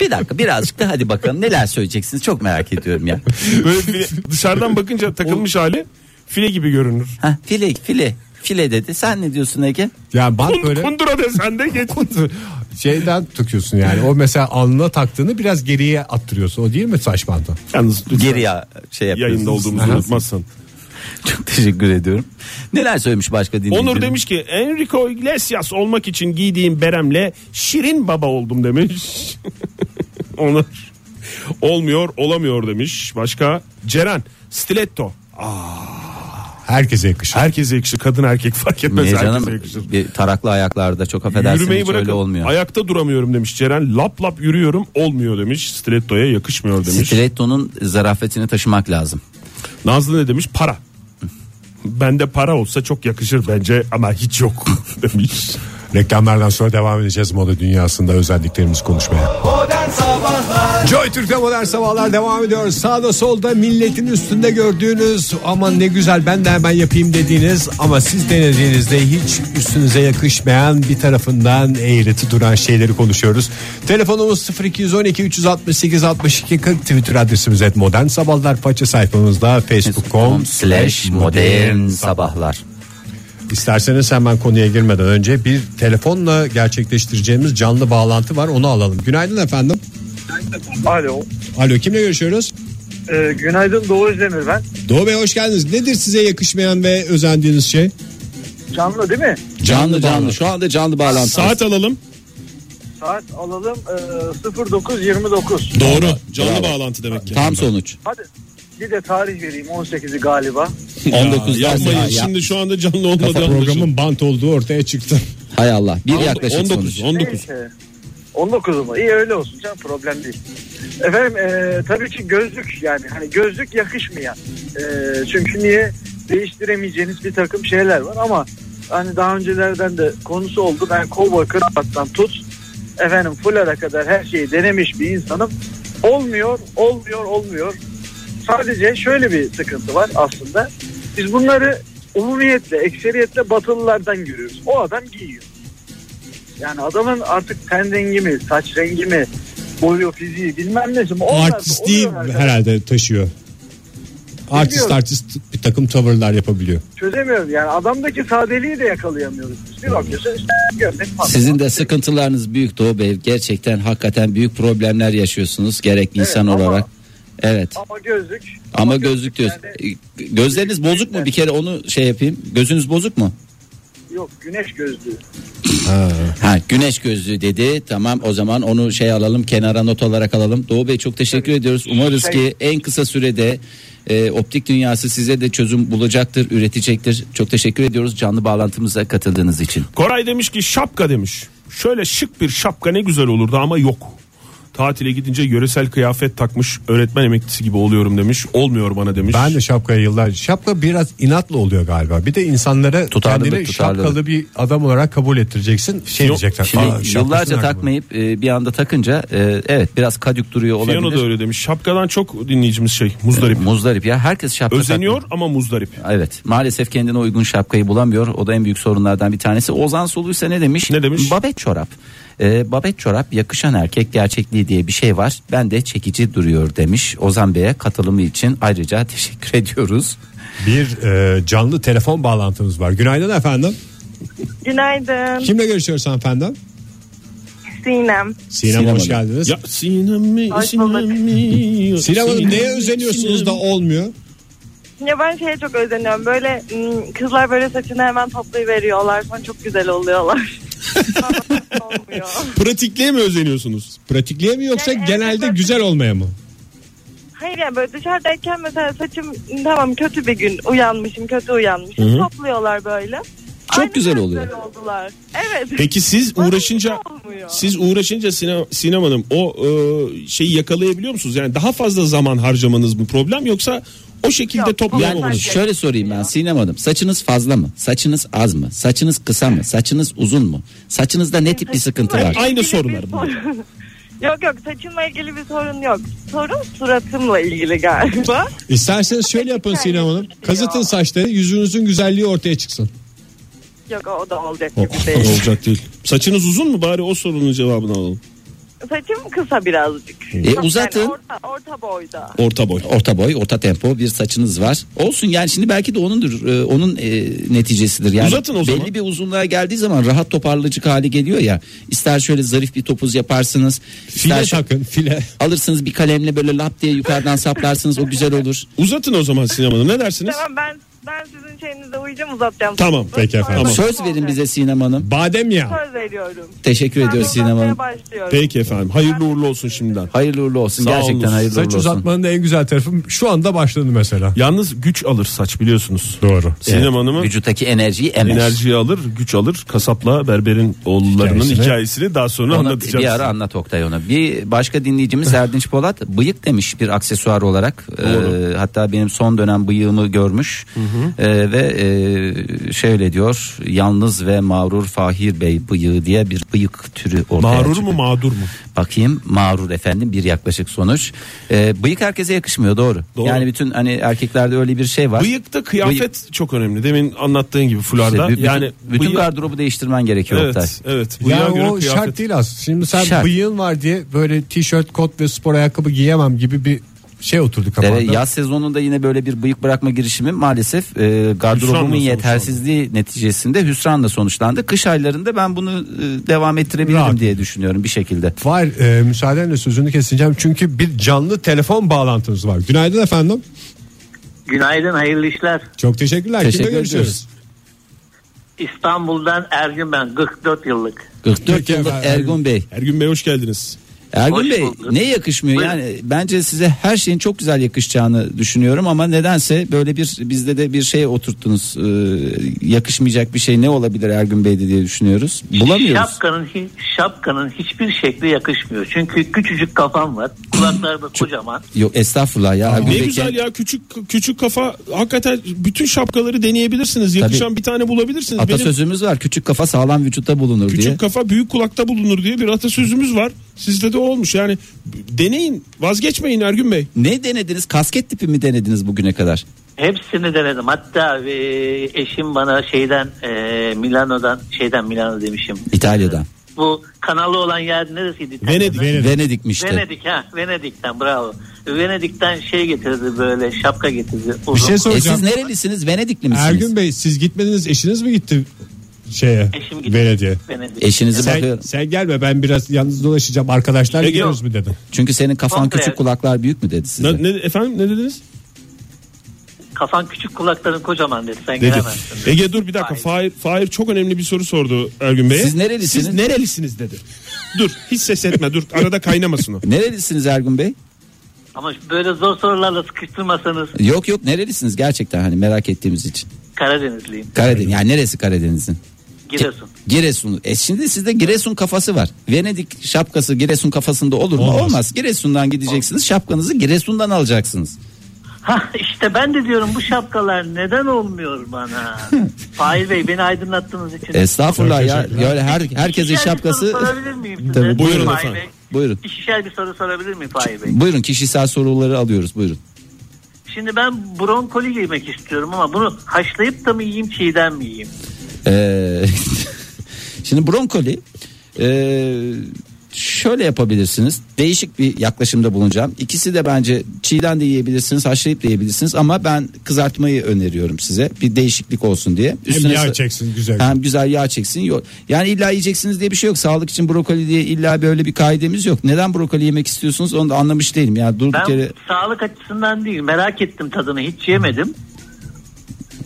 C: Bir dakika birazcık da hadi bakalım neler söyleyeceksiniz çok merak ediyorum ya.
D: Böyle file- dışarıdan bakınca takılmış hali file gibi görünür.
C: Heh, file file file dedi. Sen ne diyorsun Ege?
B: Yani bant
D: Böyle.
B: böyle
D: Kundura desen de geç.
B: şeyden takıyorsun yani. O mesela alnına taktığını biraz geriye attırıyorsun. O değil mi saç bandı?
D: Yalnız lütfen
C: Geri ya şey yapıyorsunuz.
D: yayında olduğumuzu
B: Aha.
D: unutmazsan.
C: Çok teşekkür ediyorum. Neler söylemiş başka dinleyicilerim?
D: Onur demiş ki Enrico Iglesias olmak için giydiğim beremle şirin baba oldum demiş. Onur olmuyor olamıyor demiş. Başka Ceren stiletto.
B: Herkese yakışır.
D: Herkese yakışır kadın erkek fark etmez
C: Niye
D: herkese
C: canım
D: yakışır.
C: bir taraklı ayaklarda çok affedersiniz
D: Yürümeyi
C: hiç öyle
D: bırakın
C: olmuyor.
D: ayakta duramıyorum demiş Ceren. Lap lap yürüyorum olmuyor demiş. Stiletto'ya yakışmıyor demiş.
C: Stiletto'nun zarafetini taşımak lazım.
D: Nazlı ne demiş? Para. Bende para olsa çok yakışır bence ama hiç yok demiş.
B: Reklamlardan sonra devam edeceğiz moda dünyasında özelliklerimiz konuşmaya. Joy Türk'te modern sabahlar devam ediyor. Sağda solda milletin üstünde gördüğünüz aman ne güzel ben de hemen yapayım dediğiniz ama siz denediğinizde hiç üstünüze yakışmayan bir tarafından eğreti duran şeyleri konuşuyoruz. Telefonumuz 0212 368 62 40 Twitter adresimiz et modern sabahlar faça sayfamızda facebook.com
C: slash modern sabahlar.
B: İsterseniz hemen konuya girmeden önce bir telefonla gerçekleştireceğimiz canlı bağlantı var onu alalım. Günaydın efendim.
G: Alo.
B: Alo kimle görüşüyoruz?
G: Ee, günaydın Doğu Özdemir ben.
B: Doğu Bey hoş geldiniz. Nedir size yakışmayan ve özendiğiniz şey?
G: Canlı değil mi?
C: Canlı canlı şu anda canlı bağlantı.
D: Saat alalım.
G: Saat alalım e, 09.29.
D: Doğru. Canlı bağlantı demek ki.
C: Tam sonuç.
G: Hadi bir de tarih vereyim 18'i galiba.
C: 19
D: Ya, yapmayın
C: ya,
D: şimdi şu anda canlı olmadı.
B: Programın bant olduğu ortaya çıktı.
C: Hay Allah. Bir yaklaşık
D: 19
C: sonuç.
D: 19.
G: Neyse. 19 mu? İyi öyle olsun canım problem değil. Efendim e, tabii ki gözlük yani hani gözlük yakışmayan. E, çünkü niye değiştiremeyeceğiniz bir takım şeyler var ama hani daha öncelerden de konusu oldu. Ben kovboy kravattan tut efendim fulara kadar her şeyi denemiş bir insanım. Olmuyor, olmuyor, olmuyor. Sadece şöyle bir sıkıntı var aslında. Biz bunları umumiyetle, ekseriyetle batılılardan görüyoruz. O adam giyiyor. Yani adamın artık ten rengi mi, saç rengi mi, boyu, fiziği bilmem nesi mi? Onlar da
B: Artistliği
G: oluyor arkadaşlar.
B: herhalde taşıyor. Artist
G: Bilmiyorum.
B: artist bir takım tavırlar yapabiliyor.
G: Çözemiyoruz yani adamdaki sadeliği de yakalayamıyoruz. Biz bir bakıyorsun işte gömlek falan.
C: Sizin de sıkıntılarınız büyük Doğu Bey. Gerçekten hakikaten büyük problemler yaşıyorsunuz gerek insan
G: ama-
C: olarak. Evet.
G: Ama gözlük.
C: Ama gözlük diyorsun.
G: yani
C: E, Gözleriniz bozuk mu? Bir kere onu şey yapayım. Gözünüz bozuk mu?
G: yok güneş gözlüğü.
C: Ha, güneş gözlüğü dedi. Tamam o zaman onu şey alalım kenara not olarak alalım. Doğu Bey çok teşekkür ediyoruz. Umarız
G: Şey-
C: ki en kısa sürede e, optik dünyası size de çözüm bulacaktır, üretecektir. Çok teşekkür ediyoruz canlı bağlantımıza katıldığınız için.
D: Koray demiş ki şapka demiş. Şöyle şık bir şapka ne güzel olurdu ama yok. Tatile gidince yöresel kıyafet takmış öğretmen emeklisi gibi oluyorum demiş. Olmuyor bana demiş.
B: Ben de şapkaya yıllar şapka biraz inatlı oluyor galiba. Bir de insanlara
C: Tutarlılık,
B: kendini
C: tutarlılık.
B: şapkalı bir adam olarak kabul ettireceksin. Şey
D: Yok,
B: diyecekler.
C: Şimdi
B: "Aa, şapkasını
C: yıllarca
B: nerede buldun?"
C: takmayıp e, bir anda takınca e, evet biraz kadık duruyor olabilir.
D: Piyano da öyle demiş. Şapkadan çok dinleyicimiz şey muzdarip.
C: Muzdarip ya herkes şapka takmıyor.
D: Özeniyor ama muzdarip.
C: Evet maalesef kendine uygun şapkayı bulamıyor. O da en büyük sorunlardan bir tanesi. Ozan Soluysa ne demiş?
D: Ne demiş?
C: Babet çorap. Ee, babet çorap yakışan erkek gerçekliği diye bir şey var. Ben de çekici duruyor demiş. Ozan Bey'e katılımı için ayrıca teşekkür ediyoruz.
B: Bir e, canlı telefon bağlantımız var. Günaydın efendim.
E: Günaydın
B: Kimle görüşüyoruz efendim?
E: Sinem.
B: Sinem,
C: Sinem
B: hoş
C: Hanım.
B: geldiniz.
D: Ya sinem mi
E: Ay,
D: sinem mi?
B: Sinem Hanım
D: Sinem
B: neye
D: mi,
B: özeniyorsunuz
D: sinem
B: da
D: mi?
B: olmuyor?
E: Ya ben şeye çok özeniyorum. Böyle m, kızlar böyle saçını hemen toplayıveriyorlar. Sonra çok güzel oluyorlar. Bana olmuyor.
D: Pratikliğe mi özeniyorsunuz?
B: Pratikliğe mi yoksa
E: Yani evet,
B: genelde
E: evet.
B: güzel olmaya mı?
E: Hayır yani böyle dışarıdayken mesela saçım tamam kötü bir gün uyanmışım kötü uyanmışım topluyorlar böyle.
C: Çok güzel
E: kadar
C: oluyor.
E: oldular. Evet.
D: Peki siz
E: Bana
D: uğraşınca
E: hiç olmuyor.
D: siz uğraşınca sinem, Sinem Hanım o e, şeyi yakalayabiliyor musunuz? Yani daha fazla zaman harcamanız mı problem yoksa o şekilde
E: Yok,
D: toplayamamanız
E: olmaz.
D: mı?
C: Şöyle sorayım ben Sinem Hanım. Saçınız fazla mı? Saçınız az mı? Saçınız kısa mı? Saçınız uzun mu? Saçınızda ne tip bir sıkıntı var?
D: Aynı
E: İlgili
D: sorunlar
E: bir
D: bunlar.
E: sorun- Yok yok saçımla ilgili bir sorun yok. Sorun suratımla ilgili galiba.
B: İsterseniz şöyle yapın Sinem Hanım. Kazıtın saçları yüzünüzün güzelliği ortaya çıksın.
E: Yok o da olacak gibi
D: O-
E: değil.
D: Olacak değil. Saçınız uzun mu bari o sorunun cevabını alalım.
E: Saçım kısa birazcık.
C: E, uzatın.
E: Yani orta, orta boyda.
D: Orta boy.
C: Orta boy, orta tempo bir saçınız var. Olsun yani şimdi belki de onundur, e, onun e, neticesidir. Yani
D: Uzatın o zaman.
C: Belli bir uzunluğa geldiği zaman rahat toparlayıcı hale geliyor ya. İster şöyle zarif bir topuz yaparsınız.
B: File
C: ister şu-
B: takın file.
C: alırsınız bir kalemle böyle lap diye yukarıdan saplarsınız o güzel olur.
D: Uzatın o zaman Sinem Hanım ne dersiniz?
E: Tamam ben ben sizin şeyinize uyacağım uzatacağım.
D: Tamam,
B: peki efendim.
E: Sonra-
C: Söz verin bize Sinem Hanım.
B: Badem ya.
E: Söz veriyorum.
C: Teşekkür ediyoruz
E: Ben
C: Sinem Hanım.
E: uzatmaya Başlıyorum.
D: Peki efendim hayırlı uğurlu olsun şimdiden.
F: Hayırlı uğurlu olsun.
D: Sağ
F: Gerçekten
D: olun.
F: hayırlı
B: Saç
F: uğurlu olsun.
B: uzatmanın da en güzel tarafı şu anda başladı mesela.
D: Yalnız güç alır saç biliyorsunuz.
B: Doğru.
D: Sinem
F: Evet,
D: Hanım'ın
F: vücuttaki enerjiyi emer.
D: enerjiyi alır güç alır. Kasapla berberin oğullarının
B: Hikayesini.
D: hikayesini, daha sonra
F: Ona
D: anlatacağız.
F: bir ara anlat Oktay ona. Bir başka dinleyicimiz Erdinç Polat bıyık demiş bir aksesuar olarak. Ee, hatta benim son dönem bıyığımı görmüş. Ee, ve e, şöyle diyor. Yalnız ve mağrur Fahir Bey bıyığı diye bir bıyık türü ortaya
D: Mağrur
F: çıkıyor.
D: mu mağdur mu?
F: Bakayım mağrur efendim bir yaklaşık sonuç. Ee, bıyık herkese yakışmıyor doğru.
D: Doğru.
F: Yani bütün hani erkeklerde öyle bir şey var.
D: Bıyıkta kıyafet çok önemli. Demin anlattığın gibi
F: İşte
D: fularda.
F: bü- bütün,
D: yani
F: bütün
D: bıyık-
F: gardırobu değiştirmen gerekiyor Oktay.
D: Evet, evet. Bıyığa
B: Yani
D: göre
B: o
D: kıyafet-
B: şart değil aslında. Şimdi sen
F: Şart.
B: bıyığın var diye böyle tişört, kot ve spor ayakkabı giyemem gibi bir şey oturdu
C: Ee,
B: kafamda.
F: Evet, yaz sezonunda yine böyle bir bıyık bırakma girişimi maalesef e,
D: Hüsranla
F: gardırobumun
D: sonuçlandı.
F: yetersizliği neticesinde hüsranla sonuçlandı. Kış aylarında ben bunu e, devam ettirebilirim
B: Rahat.
F: diye düşünüyorum bir şekilde.
B: Var e, müsaadenle sözünü keseceğim çünkü bir canlı telefon bağlantımız var. Günaydın efendim.
H: Günaydın hayırlı işler.
B: Çok teşekkürler. Kimle
C: Teşekkür
B: görüşüyoruz?
H: İstanbul'dan Ergün ben 44 yıllık.
C: 44
B: Peki
C: yıllık
B: efendim.
C: Ergun Bey.
D: Ergün Bey hoş geldiniz.
C: Ergun
H: Hoş
C: Bey
H: bulduk.
C: ne yakışmıyor
H: Buyurun.
C: yani bence size her şeyin çok güzel yakışacağını düşünüyorum ama nedense böyle bir bizde de bir şey oturttunuz Ee, yakışmayacak bir şey ne olabilir Ergun Bey'de diye düşünüyoruz
H: şey
C: bulamıyoruz.
H: Şapkanın, hi- şapkanın hiçbir şekli yakışmıyor. Çünkü küçücük kafam var. Kulaklar da kocaman.
C: Yok estağfurullah ya Ergun
D: Ne
C: Bey
D: güzel
C: kend-
D: ya küçük küçük kafa. Hakikaten bütün şapkaları deneyebilirsiniz. Yakışan bir tane bulabilirsiniz. Benim
C: atasözümüz var küçük kafa sağlam vücutta bulunur
D: küçük
C: diye.
D: kafa büyük kulakta bulunur diye bir atasözümüz var. Sizde de o olmuş. Yani deneyin, vazgeçmeyin Ergün Bey.
C: Ne denediniz kasket tipi mi denediniz bugüne kadar?
H: Hepsini denedim. Hatta e, eşim bana şeyden e, Milano'dan şeyden Milano demişim. E,
C: İtalya'dan.
H: Bu kanalı olan yer neresiydi?
D: Venedik.
B: Venedik.
C: Venedik'mişti.
H: Venedik ha. Venedik'ten bravo. Venedik'ten şey getirdi böyle şapka getirdi. Uzun.
B: Bir şey
C: E
B: soracağım.
C: siz nerelisiniz? Venedikli misiniz?
B: Ergün Bey siz gitmediniz eşiniz mi gitti şeye?
H: Eşim gitti.
B: Belediye.
H: Venedik.
C: Eşinizi
B: Sen,
C: bakıyorum.
B: sen gelme ben biraz yalnız dolaşacağım arkadaşlar gidiyoruz mu dedim.
C: Çünkü senin kafan
H: Komple.
C: küçük kulaklar büyük mü dedi size?
D: Ne, ne- efendim ne dediniz?
H: Kafan küçük kulakların kocaman dedi. Sen
D: Dedi.
H: gelemezsin.
B: E-
D: Ege dur bir dakika. Fahir, Fahir çok önemli bir soru sordu Ergün Bey'e.
C: Siz nerelisiniz?
D: Siz nerelisiniz dedi. dur hiç ses etme dur. Arada kaynamasın o.
C: Nerelisiniz Ergun Bey?
H: Ama böyle zor sorularla sıkıştırmasanız
C: Yok yok nerelisiniz gerçekten hani merak ettiğimiz için.
H: Karadenizliyim.
C: Karadeniz yani neresi Karadeniz'in?
H: Giresun.
C: Giresun. E şimdi sizde Giresun kafası var. Venedik şapkası Giresun kafasında olur mu? Olmaz. Giresun'dan gideceksiniz. Şapkanızı Giresun'dan alacaksınız.
H: Ha işte ben de diyorum bu şapkalar neden olmuyor bana? Fahir Bey beni aydınlattığınız için.
C: Estağfurullah ya.
B: Teşekkürler.
C: Yani her
H: İkişer
C: herkesin
H: Bir
C: şapkası
H: soru sorabilir miyim size?
C: Tabii,
D: buyurun
H: Fahir
D: efendim.
H: Bey,
C: Buyurun.
H: ikişer bir soru sorabilir miyim Fahir Bey?
C: Buyurun kişisel soruları alıyoruz. Buyurun.
H: Şimdi ben bronkoli yemek istiyorum ama bunu haşlayıp da mı yiyeyim çiğden mi yiyeyim?
C: Ee, şimdi bronkoli ee, şöyle yapabilirsiniz. Değişik bir yaklaşımda bulunacağım. İkisi de bence çiğden de yiyebilirsiniz, haşlayıp da yiyebilirsiniz ama ben kızartmayı öneriyorum size. Bir değişiklik olsun diye.
B: Hem
C: Üstüne
B: yağ
C: sa-
B: çeksin güzel.
C: Hem güzel yağ çeksin. Yok. Yani illa yiyeceksiniz diye bir şey yok. Sağlık için brokoli diye illa böyle bir kaidemiz yok. Neden brokoli yemek istiyorsunuz onu da anlamış değilim. Yani durduk
H: Ben
C: yere
H: sağlık açısından değil merak ettim tadını hiç yemedim.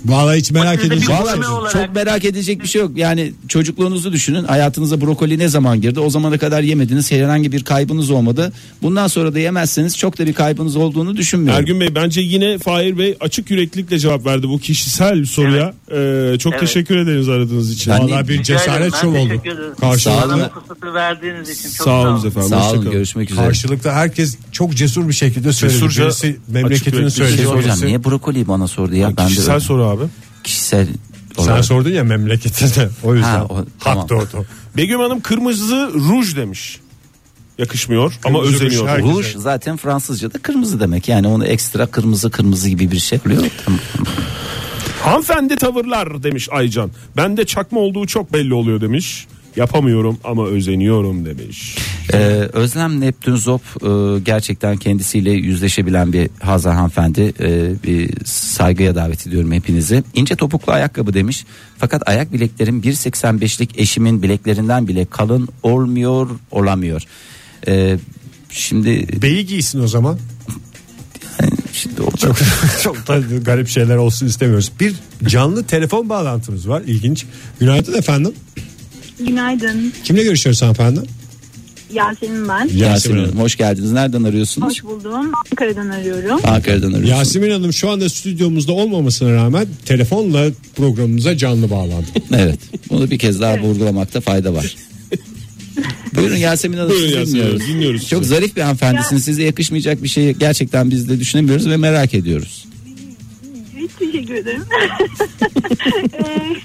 B: Vallahi hiç merak
H: Sizde bir şey
B: edeceğim.
H: gurme
B: Vallahi-
H: olarak-
C: Çok merak edecek bir şey yok. Yani çocukluğunuzu düşünün. Hayatınıza brokoli ne zaman girdi? O zamana kadar yemediniz. Herhangi bir kaybınız olmadı. Bundan sonra da yemezseniz çok da bir kaybınız olduğunu düşünmüyorum.
D: Ergün Bey bence yine Fahir Bey açık yüreklilikle cevap verdi bu kişisel soruya. Ee, çok
H: Evet.
D: teşekkür ederiz aradığınız için.
C: Ben-
B: Vallahi bir
H: Rica ederim,
B: cesaret
H: ben
B: şov oldu.
H: teşekkür ederim. Bana
B: Karşılıklı,
H: bu fırsatı verdiğiniz için çok
D: Sağ olun efendim.
C: Sağ olun
D: hoşça kalın.
C: görüşmek üzere.
B: karşılıklı herkes çok cesur bir şekilde söyledi.
D: Cesurca,
B: Birisi
D: açık
B: memleketini
D: yürekli.
C: Bir
B: söyledi.
C: şey soracağım.
B: birisi-
C: Niye brokoli bana sordu ya? Ben de
D: Kişisel soru abi.
C: kişisel
B: Sen
C: olarak.
B: sordun ya memleketini. O yüzden
C: Ha, o- tamam.
B: hak doğdu.
D: Begüm Hanım kırmızı ruj demiş. Yakışmıyor ama
B: Kırmızı ruj
D: özeniyor.
B: her-
C: Ruj zaten Fransızca'da kırmızı demek. Yani onu ekstra kırmızı kırmızı gibi bir şey. Biliyor musun?
D: Hanımefendi tavırlar demiş Aycan. Bende çakma olduğu çok belli oluyor demiş. Yapamıyorum ama özeniyorum demiş.
C: Ee, Özlem Neptün Zop e, gerçekten kendisiyle yüzleşebilen bir Hazar hanımefendi. E, bir saygıya davet ediyorum hepinizi. İnce topuklu ayakkabı demiş. Fakat ayak bileklerim 1.85'lik eşimin bileklerinden bile kalın olmuyor olamıyor. Ee, şimdi,
B: Beyi giysin o zaman.
C: şimdi o da-
B: Çok da garip şeyler olsun istemiyoruz. Bir canlı telefon bağlantımız var. İlginç. Günaydın efendim.
I: Günaydın.
B: Kimle görüşüyoruz hanımefendi?
I: Yasemin ben.
C: Yasemin Hanım hoş geldiniz. Nereden arıyorsunuz?
I: Hoş buldum. Ankara'dan arıyorum.
C: Ankara'dan arıyorsunuz.
B: Yasemin Hanım şu anda stüdyomuzda olmamasına rağmen telefonla programımıza canlı bağlandı.
C: Evet. Bunu bir kez daha vurgulamakta fayda var. Buyurun Yasemin Hanım.
D: Buyurun
C: sizi
D: Yasemin Hanım, dinliyoruz sizi.
C: Çok zarif bir hanımefendisiniz. Size yakışmayacak bir şeyi gerçekten biz de düşünemiyoruz ve merak ediyoruz.
I: Hiç teşekkür ederim. Eee,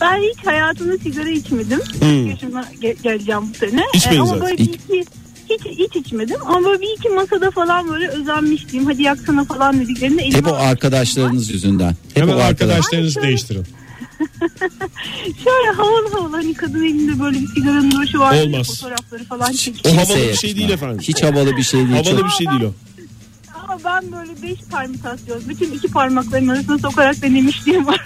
I: ben hiç hayatımda sigara içmedim. Yaşıma ge- geleceğim bu sene.
D: İçmeyin
I: Eee, ama
D: zaten.
I: böyle bir iki, hiç, hiç içmedim. Ama böyle bir iki masada falan böyle özenmiştim. Hadi yaksana falan dediklerinde elime
C: Hep o
I: almıştım.
C: arkadaşlarınız yüzünden. Hep
B: Hemen
C: o arkadaş.
B: arkadaşlarınızı değiştirin.
I: Şöyle havalı havalı hani kadın elinde böyle bir sigaranın duruşu var.
D: Olmaz.
I: Fotoğrafları falan çekiyor.
D: O havalı
C: Kimseye
D: bir şey değil
C: yakışmaz.
D: efendim.
C: Hiç havalı bir şey değil.
D: Havalı
C: Çok-
D: bir şey değil o.
I: Ama ben böyle beş permütasyon. Bütün iki parmaklarımın arasına sokarak denemişliğim var.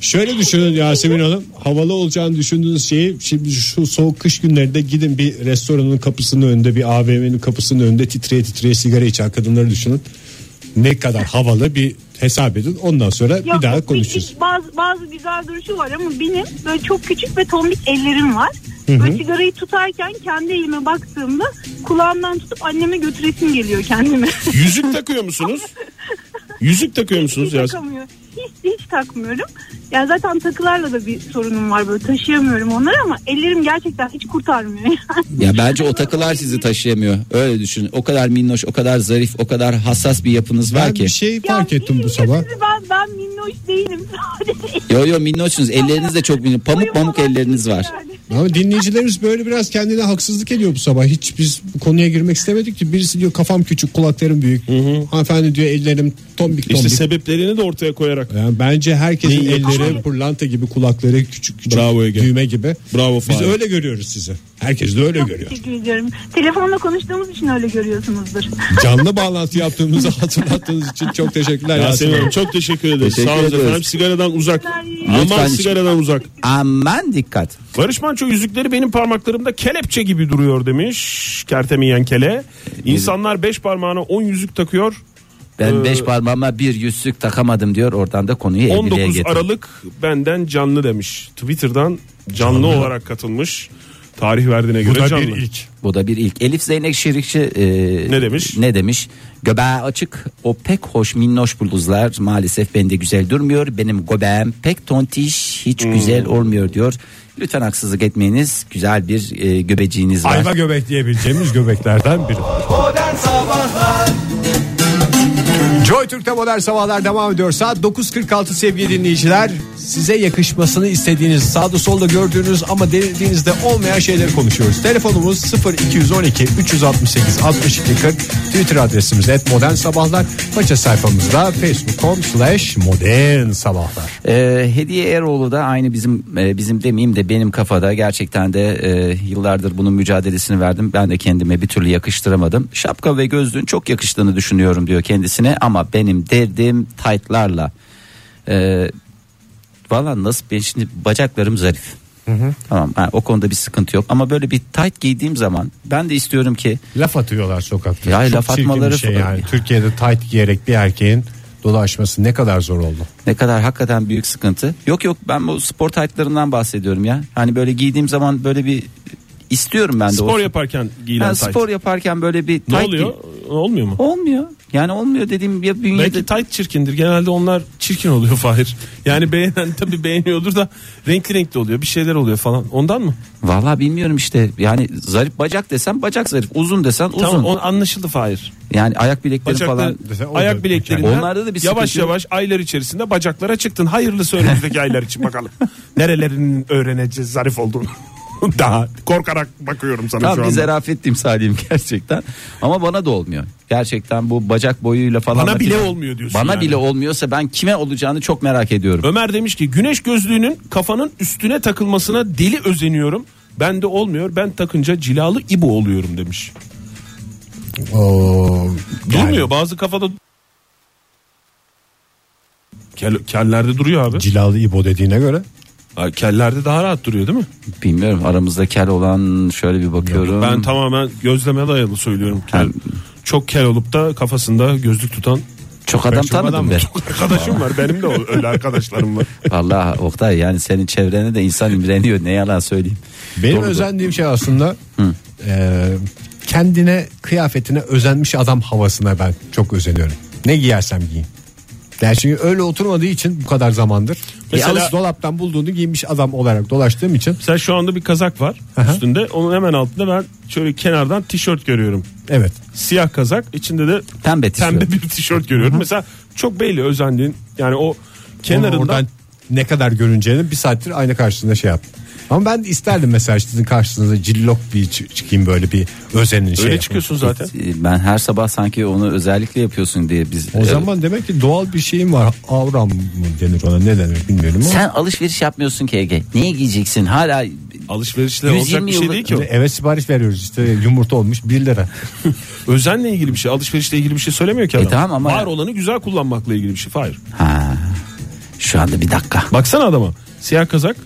B: Şöyle düşünün Yasemin Hanım. Havalı olacağını düşündüğünüz şeyi şimdi şu soğuk kış günlerinde gidin bir restoranın kapısının önünde bir AVM'nin kapısının önünde titreye titreye sigara içen kadınları düşünün. Ne kadar havalı bir hesap edin. Ondan sonra bir daha
I: bir-
B: konuşuruz.
I: bir- bazı, bazı güzel duruşu var ama benim böyle çok küçük ve tombik ellerim var. Böyle sigarayı tutarken kendi elime baktığımda kulağımdan tutup anneme götüresim geliyor kendimi.
D: Yüzük takıyor musunuz? Yüzük takıyor musunuz
I: hiç
D: Yasemin?
I: takamıyorum. Hiç, hiç takmıyorum. Yani zaten takılarla da bir sorunum var böyle taşıyamıyorum onları ama ellerim gerçekten hiç kurtarmıyor. yani.
D: şey
C: Ya bence o takılar sizi taşıyamıyor. Öyle düşünün. O kadar minnoş, o kadar zarif, o kadar hassas bir yapınız var
B: Ben
C: ki.
B: bir şey fark
I: Yani
B: ettim bu
I: bilmiyorum,
B: sabah.
I: Ben, ben minnoş değilim sadece.
C: Yo yo minnoşsunuz. Elleriniz de çok minnoş. Pamuk pamuk elleriniz var.
I: Yani.
B: Ama dinleyicilerimiz böyle biraz kendine haksızlık ediyor bu sabah. Hiç biz bu konuya girmek istemedik ki. Birisi diyor kafam küçük, kulaklarım büyük. Hanımefendi diyor ellerim tombik tombik.
D: İşte sebeplerini de ortaya koyarak.
B: Yani bence herkesin
D: Neyi
B: elleri pırlanta gibi kulakları küçük küçük
D: Bravo Ege.
B: düğme gibi.
D: Bravo
B: Biz
D: Fahir.
B: öyle görüyoruz sizi. Herkes de öyle
I: Çok
B: görüyor.
I: teşekkür ediyorum. Telefonla konuştuğumuz için öyle görüyorsunuzdur.
B: Canlı bağlantı yaptığımızı hatırlattığınız için çok teşekkürler
D: Yasemin
B: Yasemin.
D: Hanım çok teşekkür ederiz.
C: Teşekkür
D: Sağ olun
C: ederiz.
D: efendim. Sigaradan uzak.
I: Lütfen
D: Aman
C: hiç-
D: sigaradan uzak.
C: Aman dikkat.
D: Barış Manço yüzükleri benim parmaklarımda kelepçe gibi duruyor demiş. Kertemeyen kele. İnsanlar beş parmağına 10 yüzük takıyor.
C: Ben
D: Ee,
C: beş parmağıma bir yüzsük takamadım diyor. Oradan da konuyu evliliğe
D: 19
C: getirdi.
D: Aralık benden canlı demiş. Twitter'dan canlı, olarak katılmış. Tarih verdiğine
B: Bu
D: göre
B: da
D: canlı.
B: bir ilk.
C: Bu da bir ilk. Elif Zeynep Şirikçi e,
D: Ne demiş?
C: Ne demiş? Göbeği açık. O pek hoş minnoş buluzlar maalesef bende güzel durmuyor. Benim göbeğim pek tontiş, hiç
D: Hmm.
C: güzel olmuyor diyor. Lütfen haksızlık etmeyiniz. Güzel bir e, göbeciğiniz var.
B: Ayva göbek diyebileceğimiz göbeklerden biri. Joy Türk'te modern sabahlar devam ediyor. Saat 9.46 sevgili dinleyiciler. Size yakışmasını istediğiniz, sağda solda gördüğünüz ama denediğinizde olmayan şeyleri konuşuyoruz. Telefonumuz 0212 368 62 40. Twitter adresimiz et modern sabahlar. Faça sayfamızda facebook.com slash modern sabahlar.
C: Ee, Hediye Eroğlu da aynı bizim e, bizim demeyeyim de benim kafada gerçekten de e, yıllardır bunun mücadelesini verdim. Ben de kendime bir türlü yakıştıramadım. Şapka ve gözlüğün çok yakıştığını düşünüyorum diyor kendisine ama benim derdim taytlarla. Ee, Valla nasıl ben şimdi bacaklarım zarif. Tamam ha, o konuda bir sıkıntı yok ama böyle bir tayt giydiğim zaman ben de istiyorum ki
B: Laf atıyorlar sokakta.
C: Ya
B: Çok
C: laf
B: çirkin bir
C: atmaları
B: şey
C: falan.
B: yani. Türkiye'de tight giyerek bir erkeğin Dolu aşması ne kadar zor oldu.
C: Ne kadar hakikaten büyük sıkıntı. Yok yok ben bu spor taytlarından bahsediyorum ya. Hani böyle giydiğim zaman böyle bir istiyorum ben de.
D: Spor
C: o-
D: yaparken giyilen
C: Ben
D: tight.
C: spor yaparken böyle bir
D: ne
C: tight
D: oluyor?
C: giy-
D: Olmuyor mu?
C: Olmuyor. Yani olmuyor dediğim ya bünyede
D: Belki tight çirkindir. Genelde onlar çirkin oluyor Fahir. Yani beğenen tabii beğeniyordur da renkli renkli oluyor. Bir şeyler oluyor falan. Ondan mı?
C: Vallahi bilmiyorum işte. Yani zarif bacak desem bacak zarif, uzun desen uzun.
D: Tamam o anlaşıldı Fahir.
C: Yani ayak bilekleri falan.
D: Bacaklar,
B: Desen o da
D: ayak bileklerinden
C: mükemmel. Onlarda da bir
D: yavaş
C: sıkıntı yok.
D: yavaş aylar içerisinde bacaklara çıktın. Hayırlısı önümüzdeki aylar için bakalım. Nerelerinin öğreneceğiz zarif olduğunu. Daha korkarak bakıyorum sana
C: Tam
D: şu
C: bir
D: anda.
C: zarafet timsaliyim gerçekten. Ama bana da olmuyor. Gerçekten bu bacak boyuyla falan.
D: Bana bile olmuyor diyorsun
C: Bana
D: yani.
C: bile olmuyorsa ben kime olacağını çok merak ediyorum.
D: Ömer demiş ki güneş gözlüğünün kafanın üstüne takılmasına deli özeniyorum. Bende olmuyor. Ben takınca cilalı ibo oluyorum demiş.
B: Oo,
D: Durmuyor. Bazı kafada Kel, kellerde duruyor abi.
B: Cilalı İbo dediğine göre.
D: Ha, Kellerde daha rahat duruyor değil mi?
C: Bilmiyorum aramızda kel olan şöyle bir bakıyorum.
D: Ben tamamen gözleme dayalı söylüyorum. Kel-
C: Yani-
D: çok kel olup da kafasında gözlük tutan
C: çok adam
D: çok adam
C: tanıdım be.
D: çok arkadaşım var. Benim de o- öyle arkadaşlarım var.
C: Vallahi Oktay yani senin çevrene de insan imreniyor ne yalan söyleyeyim.
B: Benim özendiğim şey aslında e, kendine kıyafetine özenmiş adam havasına ben çok özeniyorum. Ne giyersem giyeyim. Yani çünkü öyle oturmadığı için bu kadar zamandır.
D: Mesela-
B: Mesela dolaptan bulduğunu giymiş adam olarak dolaştığım için.
D: Mesela şu anda bir kazak var
B: Aha.
D: üstünde. Onun hemen altında ben şöyle kenardan tişört görüyorum.
B: Evet.
D: Siyah kazak içinde de
C: Pembe tişört.
D: pembe bir tişört görüyorum. Mesela çok belli özendiğin yani o
B: Onu
D: kenarından
B: oradan ne kadar görüneceğini bir saattir ayna karşısında şey yap. Ama ben isterdim mesela sizin karşınıza cillok bir çı- çıkayım böyle bir özenin şey.
D: öyle
B: yapayım.
D: çıkıyorsun zaten.
C: E, Ben her sabah sanki onu özellikle yapıyorsun diye biz. e,
B: O zaman demek ki doğal bir şeyim var. Avram mı denir ona ne denir bilmiyorum ama.
C: Sen alışveriş yapmıyorsun ki Ege. Neye giyeceksin? Hala
D: Alışverişle olacak
C: 120
D: bir şey
C: yıllık-
D: değil ki o.
B: Eve sipariş veriyoruz işte yumurta olmuş 1 lira.
D: Özenle ilgili bir şey, alışverişle ilgili bir şey söylemiyor
B: E,
D: ki adam.
C: tamam ama-
D: Var olanı güzel kullanmakla ilgili bir şey. Hayır.
C: ha. Şu anda bir dakika.
D: Baksana adama. Siyah kazak,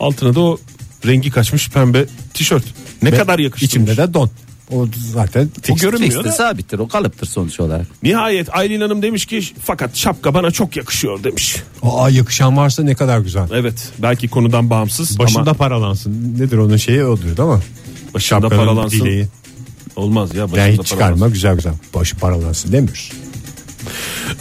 D: altına da o rengi kaçmış pembe tişört. Ne kadar yakıştırmış.
B: İçimde de don. O zaten
D: O görünmüyor
C: Fix'te
D: da.
C: sabittir o kalıptır sonuç olarak.
D: Nihayet Aylin Hanım demiş ki fakat şapka bana çok yakışıyor demiş.
B: Aa yakışan varsa ne kadar güzel.
D: Evet belki konudan bağımsız
B: Başında
D: ama
B: paralansın. Nedir onun şeyi odur ama.
D: başında
B: Şapkanın
D: paralansın.
B: bileği.
D: Olmaz ya başında
B: Yani hiç
D: paralansın.
B: çıkarma güzel güzel. Başı paralansın demiyor.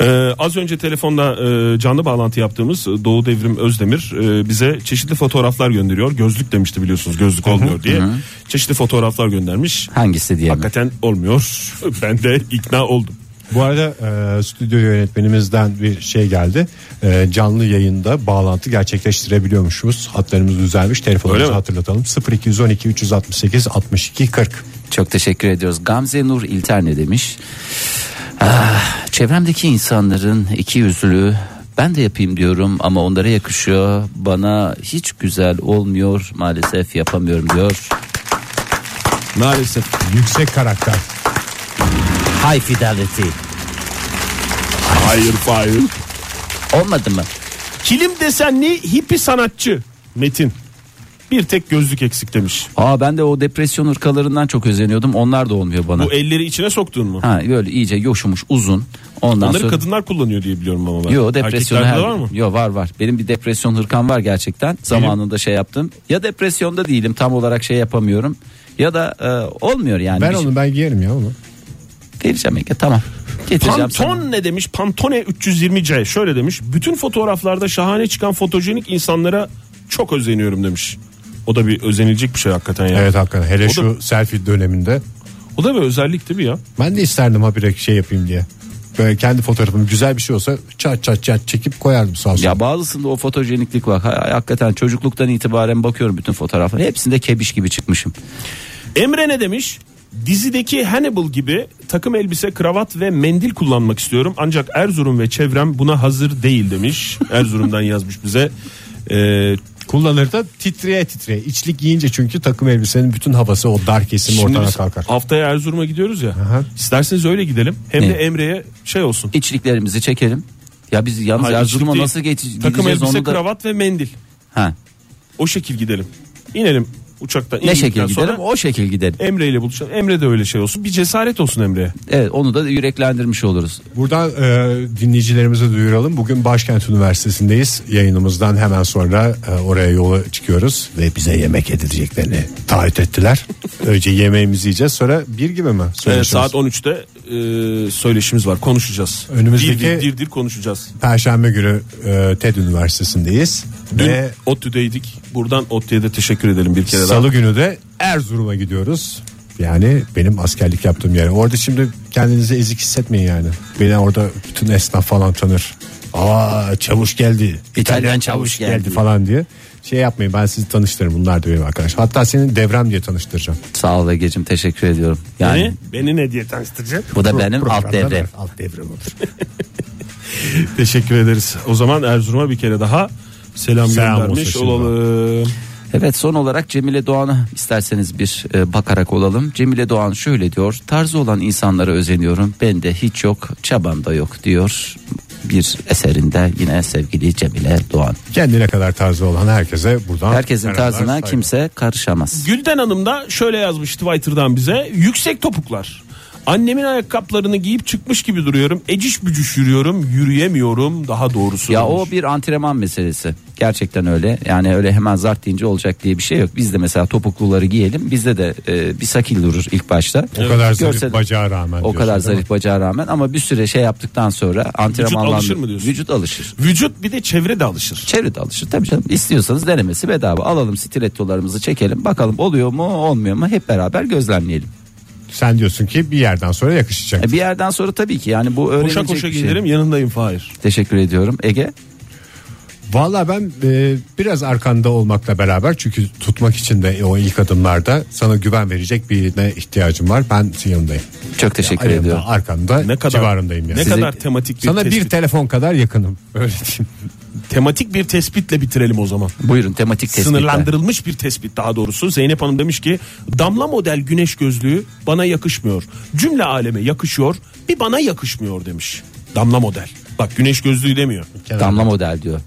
D: Ee, az önce telefonda e, canlı bağlantı yaptığımız e, Doğu Devrim Özdemir e, bize çeşitli fotoğraflar gönderiyor. Gözlük demişti biliyorsunuz gözlük olmuyor diye. Çeşitli fotoğraflar göndermiş.
C: Hangisi diye mi?
D: Hakikaten olmuyor. ben de ikna oldum.
B: Bu arada e, stüdyo yönetmenimizden bir şey geldi. E, canlı yayında bağlantı gerçekleştirebiliyormuşuz. Hatlarımız düzelmiş.
D: Öyle
B: Telefonumuzu
D: mi?
B: hatırlatalım. 0212 368 62 40.
C: Çok teşekkür ediyoruz. Gamze Nur İlter ne demiş? Ah, çevremdeki insanların iki yüzlü ben de yapayım diyorum ama onlara yakışıyor. Bana hiç güzel olmuyor maalesef yapamıyorum diyor.
D: Maalesef.
B: Yüksek karakter.
C: High fidelity.
D: Hayır hayır.
C: Olmadı mı?
D: Kilim desenli hippi sanatçı Metin. Bir tek gözlük eksik demiş.
C: Aa ben de o depresyon hırkalarından çok özeniyordum. Onlar da olmuyor bana.
D: Bu e- elleri içine soktuğun mu?
C: Ha böyle iyice yoşumuş uzun. Ondan
D: Onları
C: sonra
D: kadınlar kullanıyor diye biliyorum ama ben.
C: Yo depresyon
D: Erkeklerde
C: her...
D: de var mı?
C: Yo var var. Benim bir depresyon hırkam var gerçekten. Zamanında şey yaptım. Ya depresyonda değilim tam olarak şey yapamıyorum. Ya da e, olmuyor yani.
B: Ben
D: Hani
C: Bir-
B: onu ben giyerim ya onu.
C: Vereceğim Ege tamam. Getireceğim sana.
D: Pantone ne demiş? Pantone 320C şöyle demiş. Bütün fotoğraflarda şahane çıkan fotojenik insanlara çok özeniyorum demiş. O da bir özenilecek bir şey hakikaten ya.
B: Evet hakikaten. Hele
D: O da-
B: şu selfie döneminde.
D: O da bir özellik değil mi ya?
B: Ben de isterdim habire şey yapayım diye. Böyle kendi fotoğrafım güzel bir şey olsa çat çat çat çekip koyardım sağ olsun.
C: Ya bazısında o fotojeniklik var. Ha- Hakikaten çocukluktan itibaren bakıyorum bütün fotoğraflara. Hepsinde kebiş gibi çıkmışım.
D: Emre ne demiş? Dizideki Hannibal gibi takım elbise, kravat ve mendil kullanmak istiyorum. Ancak Erzurum ve çevrem buna hazır değil demiş. Erzurum'dan yazmış bize. Ee,
B: Kullanır da titreye titreye. İçlik giyince çünkü takım elbisenin bütün havası o dar kesim
D: şimdi
B: ortadan
D: biz
B: kalkar.
D: haftaya Erzurum'a gidiyoruz ya.
B: Aha.
D: İsterseniz öyle gidelim. Hem
C: Ne?
D: de Emre'ye şey olsun.
C: İçliklerimizi çekelim. Ya biz yalnız
D: Hayır,
C: Erzurum'a
D: içlik
C: nasıl
D: değil.
C: geç-
D: Takım
C: gideceğiz
D: elbise,
C: onu da...
D: kravat ve mendil.
C: Ha.
D: O şekil gidelim. İnelim Uçaktan
C: Ne şekil
D: indikten
C: gidelim
D: sonra
C: o şekil gidelim.
D: Emre ile buluşalım. Emre de öyle şey olsun. Bir cesaret olsun Emre'ye.
C: Evet onu da yüreklendirmiş oluruz.
B: Buradan e, dinleyicilerimize duyuralım. Bugün Başkent Üniversitesi'ndeyiz. Yayınımızdan hemen sonra e, oraya yola çıkıyoruz. Ve bize yemek yedireceklerini taahhüt ettiler. Önce yemeğimizi yiyeceğiz sonra bir gibi mi?
D: Ee,
B: Söyleşimiz.
D: saat 13'te e, söyleşimiz var. Konuşacağız.
B: Önümüzdeki-
D: Dir dir, dir dir konuşacağız.
B: Perşembe günü e, TED Üniversitesi'ndeyiz.
D: Dün
B: Ve
D: ODTÜ'deydik. Buradan ODTÜ'ye de teşekkür edelim bir kere daha.
B: salı günü de Erzurum'a gidiyoruz. Yani benim askerlik yaptığım yer. Orada şimdi kendinizi ezik hissetmeyin yani. Beni orada bütün esnaf falan tanır. Aa çavuş geldi.
C: İtalyan çavuş
B: geldi,
C: geldi.
B: falan diye. Şey yapmayın ben sizi tanıştırırım bunlar da benim arkadaş. Hatta senin devrem diye tanıştıracağım.
C: Sağ ol Ege'cim teşekkür ediyorum. Yani
D: Beni, beni ne diye tanıştıracak?
C: bu da
B: Pro-
C: benim alt
B: programda
C: devrem.
B: ben- Alt devrem olur.
D: Teşekkür ederiz. O zaman Erzurum'a bir kere daha selam,
B: Selam
D: göndermiş
B: olsun şimdi.
D: olalım.
C: Evet son olarak Cemile Doğan'a isterseniz bir e, bakarak olalım. Cemile Doğan şöyle diyor. Tarzı olan insanlara özeniyorum. Ben de hiç yok, çabam da yok diyor. Bir eserinde yine sevgili Cemile Doğan.
B: Kendine kadar tarzı olan herkese buradan.
C: Herkesin
B: merhabalar,
C: tarzına
B: saygılar.
C: kimse karışamaz.
D: Gülden Hanım da şöyle yazmış Twitter'dan bize. Yüksek topuklar. Annemin ayakkabılarını giyip çıkmış gibi duruyorum. Eciş bücüş yürüyorum. Yürüyemiyorum daha doğrusu.
C: Ya
D: demiş.
C: o bir antrenman meselesi. Gerçekten öyle. Yani öyle hemen zart deyince olacak diye bir şey yok. Biz de mesela topukluları giyelim. Bizde de e, bir sakil durur ilk başta.
B: O kadar zarif
C: Görsel-
B: bacağa rağmen.
C: O
B: diyorsun,
C: kadar
B: değil mi?
C: zarif bacağa rağmen ama bir süre şey yaptıktan sonra antrenmanla
D: alışır mı diyorsun?
C: Vücut alışır.
D: Vücut bir de çevre de alışır.
C: Çevre de alışır tabii canım. İstiyorsanız denemesi bedava. Alalım stilettolarımızı çekelim. Bakalım oluyor mu olmuyor mu hep beraber gözlemleyelim.
B: Sen diyorsun ki bir yerden sonra yakışacak.
C: E, Bir yerden sonra tabii ki yani bu öğrenecek
D: Koşa koşa
C: bir şey.
D: gelirim yanındayım Fahir.
C: Teşekkür ediyorum. Ege
B: Valla ben e, biraz arkanda olmakla beraber çünkü tutmak için de o ilk adımlarda sana güven verecek birine ihtiyacım var. Ben yanındayım.
C: çok teşekkür
B: Ayağımda,
C: ediyorum.
B: Arkamda
D: Ne kadar
B: civarındayım yani.
D: Ne
C: Size-
D: kadar tematik bir
B: sana
D: tespit.
B: bir telefon kadar yakınım. Öyle diyeyim.
D: tematik bir tespitle bitirelim o zaman.
C: Buyurun tematik tespitler.
D: Sınırlandırılmış bir tespit daha doğrusu. Zeynep Hanım demiş ki damla model güneş gözlüğü bana yakışmıyor. Cümle aleme yakışıyor bir bana yakışmıyor demiş. Damla model. Bak güneş gözlüğü demiyor.
C: Damla model diyor.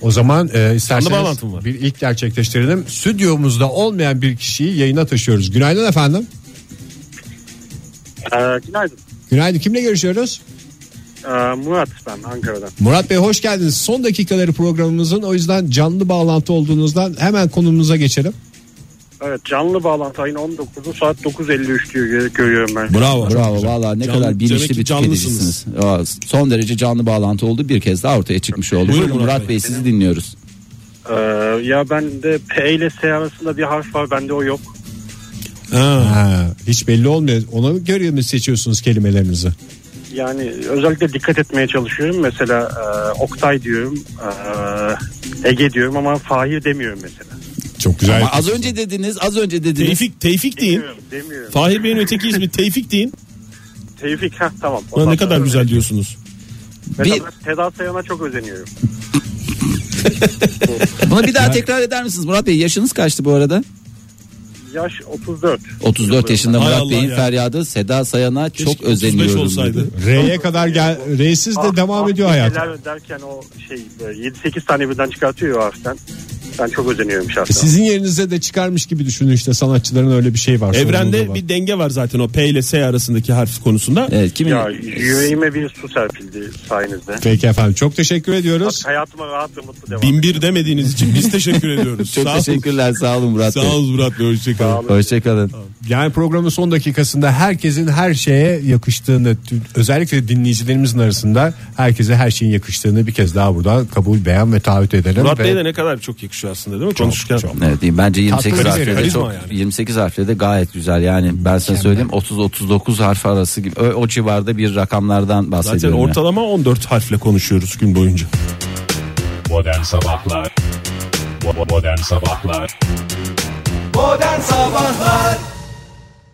B: O zaman e,
D: Anlı
B: isterseniz
D: bağlantım var.
B: bir ilk gerçekleştirelim. Stüdyomuzda olmayan bir kişiyi yayına taşıyoruz. Günaydın efendim.
G: Ee, günaydın.
B: Günaydın. Kimle görüşüyoruz?
G: Ee, Murat ben Ankara'dan.
B: Murat Bey hoş geldiniz. Son dakikaları programımızın o yüzden canlı bağlantı olduğunuzdan hemen konumuza geçelim.
G: Evet canlı bağlantı ayın 19'u saat 9.53 diyor gö- görüyorum ben.
D: Bravo.
C: Bravo valla ne
D: Canlı-
C: kadar
D: demek
C: bilinçli
D: ki
C: bir
D: canlısınız.
C: tüketicisiniz. Aa, Son derece canlı bağlantı oldu. Bir kez daha ortaya çıkmış oldu.
D: Buyurun
C: Buyurun Murat,
D: Murat
C: Bey. sizi dinliyoruz.
G: Ee, ya ben de P ile S arasında bir harf var bende o yok.
B: Ha, hiç belli olmuyor. Ona göre mi seçiyorsunuz kelimelerinizi?
G: Yani özellikle dikkat etmeye çalışıyorum. Mesela e, Oktay diyorum, e, Ege diyorum ama Fahir demiyorum mesela.
B: Çok güzel.
C: Ama az önce dediniz az önce dediniz.
D: Tevfik, Tevfik deyin.
G: Demiyorum, demiyorum.
D: Fahir Bey'in öteki ismi Tevfik deyin.
G: Tevfik ha tamam.
D: Ulan ne kadar güzel diyorsunuz.
G: Mesela
C: Bir-
G: ben Seda Sayan'a çok özeniyorum.
C: Bunu bir daha tekrar eder misiniz Murat Bey? Yaşınız kaçtı bu arada?
G: Yaş 34.
C: 34 yaşında
D: Hay
C: Murat
D: Allah
C: Bey'in
D: ya.
C: feryadı Seda Sayan'a çok
D: 35
C: özeniyorum.
D: olsaydı.
C: dedi.
B: R'ye kadar gel. R'siz de
G: Ah,
B: devam
G: ah,
B: ediyor hayat.
G: şeyler derken o şey 7-8 tane birden çıkartıyor ya harften. Ben çok özeniyorum şahsen.
B: Sizin yerinize de çıkarmış gibi düşünün işte sanatçıların öyle bir şey var. sorumluluğu
D: Evrende
B: var.
D: bir denge var zaten o P ile S arasındaki harf konusunda.
C: Evet kimin?
G: Ya yüreğime bir su serpildi sayenizde.
B: Peki efendim çok teşekkür ediyoruz.
G: Hayatıma rahat ve mutlu devam.
D: Bin bir demediğiniz için biz teşekkür ediyoruz.
C: çok
D: sağ olun.
C: teşekkürler sağ olun Murat
D: Sağ
C: Bey.
D: olun Murat Bey hoşçakalın.
C: Hoşçakalın.
B: Yani programın son dakikasında herkesin her şeye yakıştığını tüm- özellikle dinleyicilerimizin arasında herkese her şeyin yakıştığını bir kez daha buradan kabul beyan ve taahhüt edelim.
D: Murat
B: ve
D: Bey de ne kadar çok yakışıyor aslında değil mi? Konuşurken.
B: çok.
C: Evet, değil, bence 28
B: Tatlı bir
C: harfle de
D: karizma
C: çok
D: yani.
C: 28 harfle de gayet güzel. Yani ben sana söyleyeyim 30 39 harf arası gibi o, o civarda bir rakamlardan bahsediyorum.
D: Zaten
C: ya.
D: ortalama 14 harfle konuşuyoruz gün boyunca.
J: Modern Sabahlar Modern Sabahlar
K: Modern Sabahlar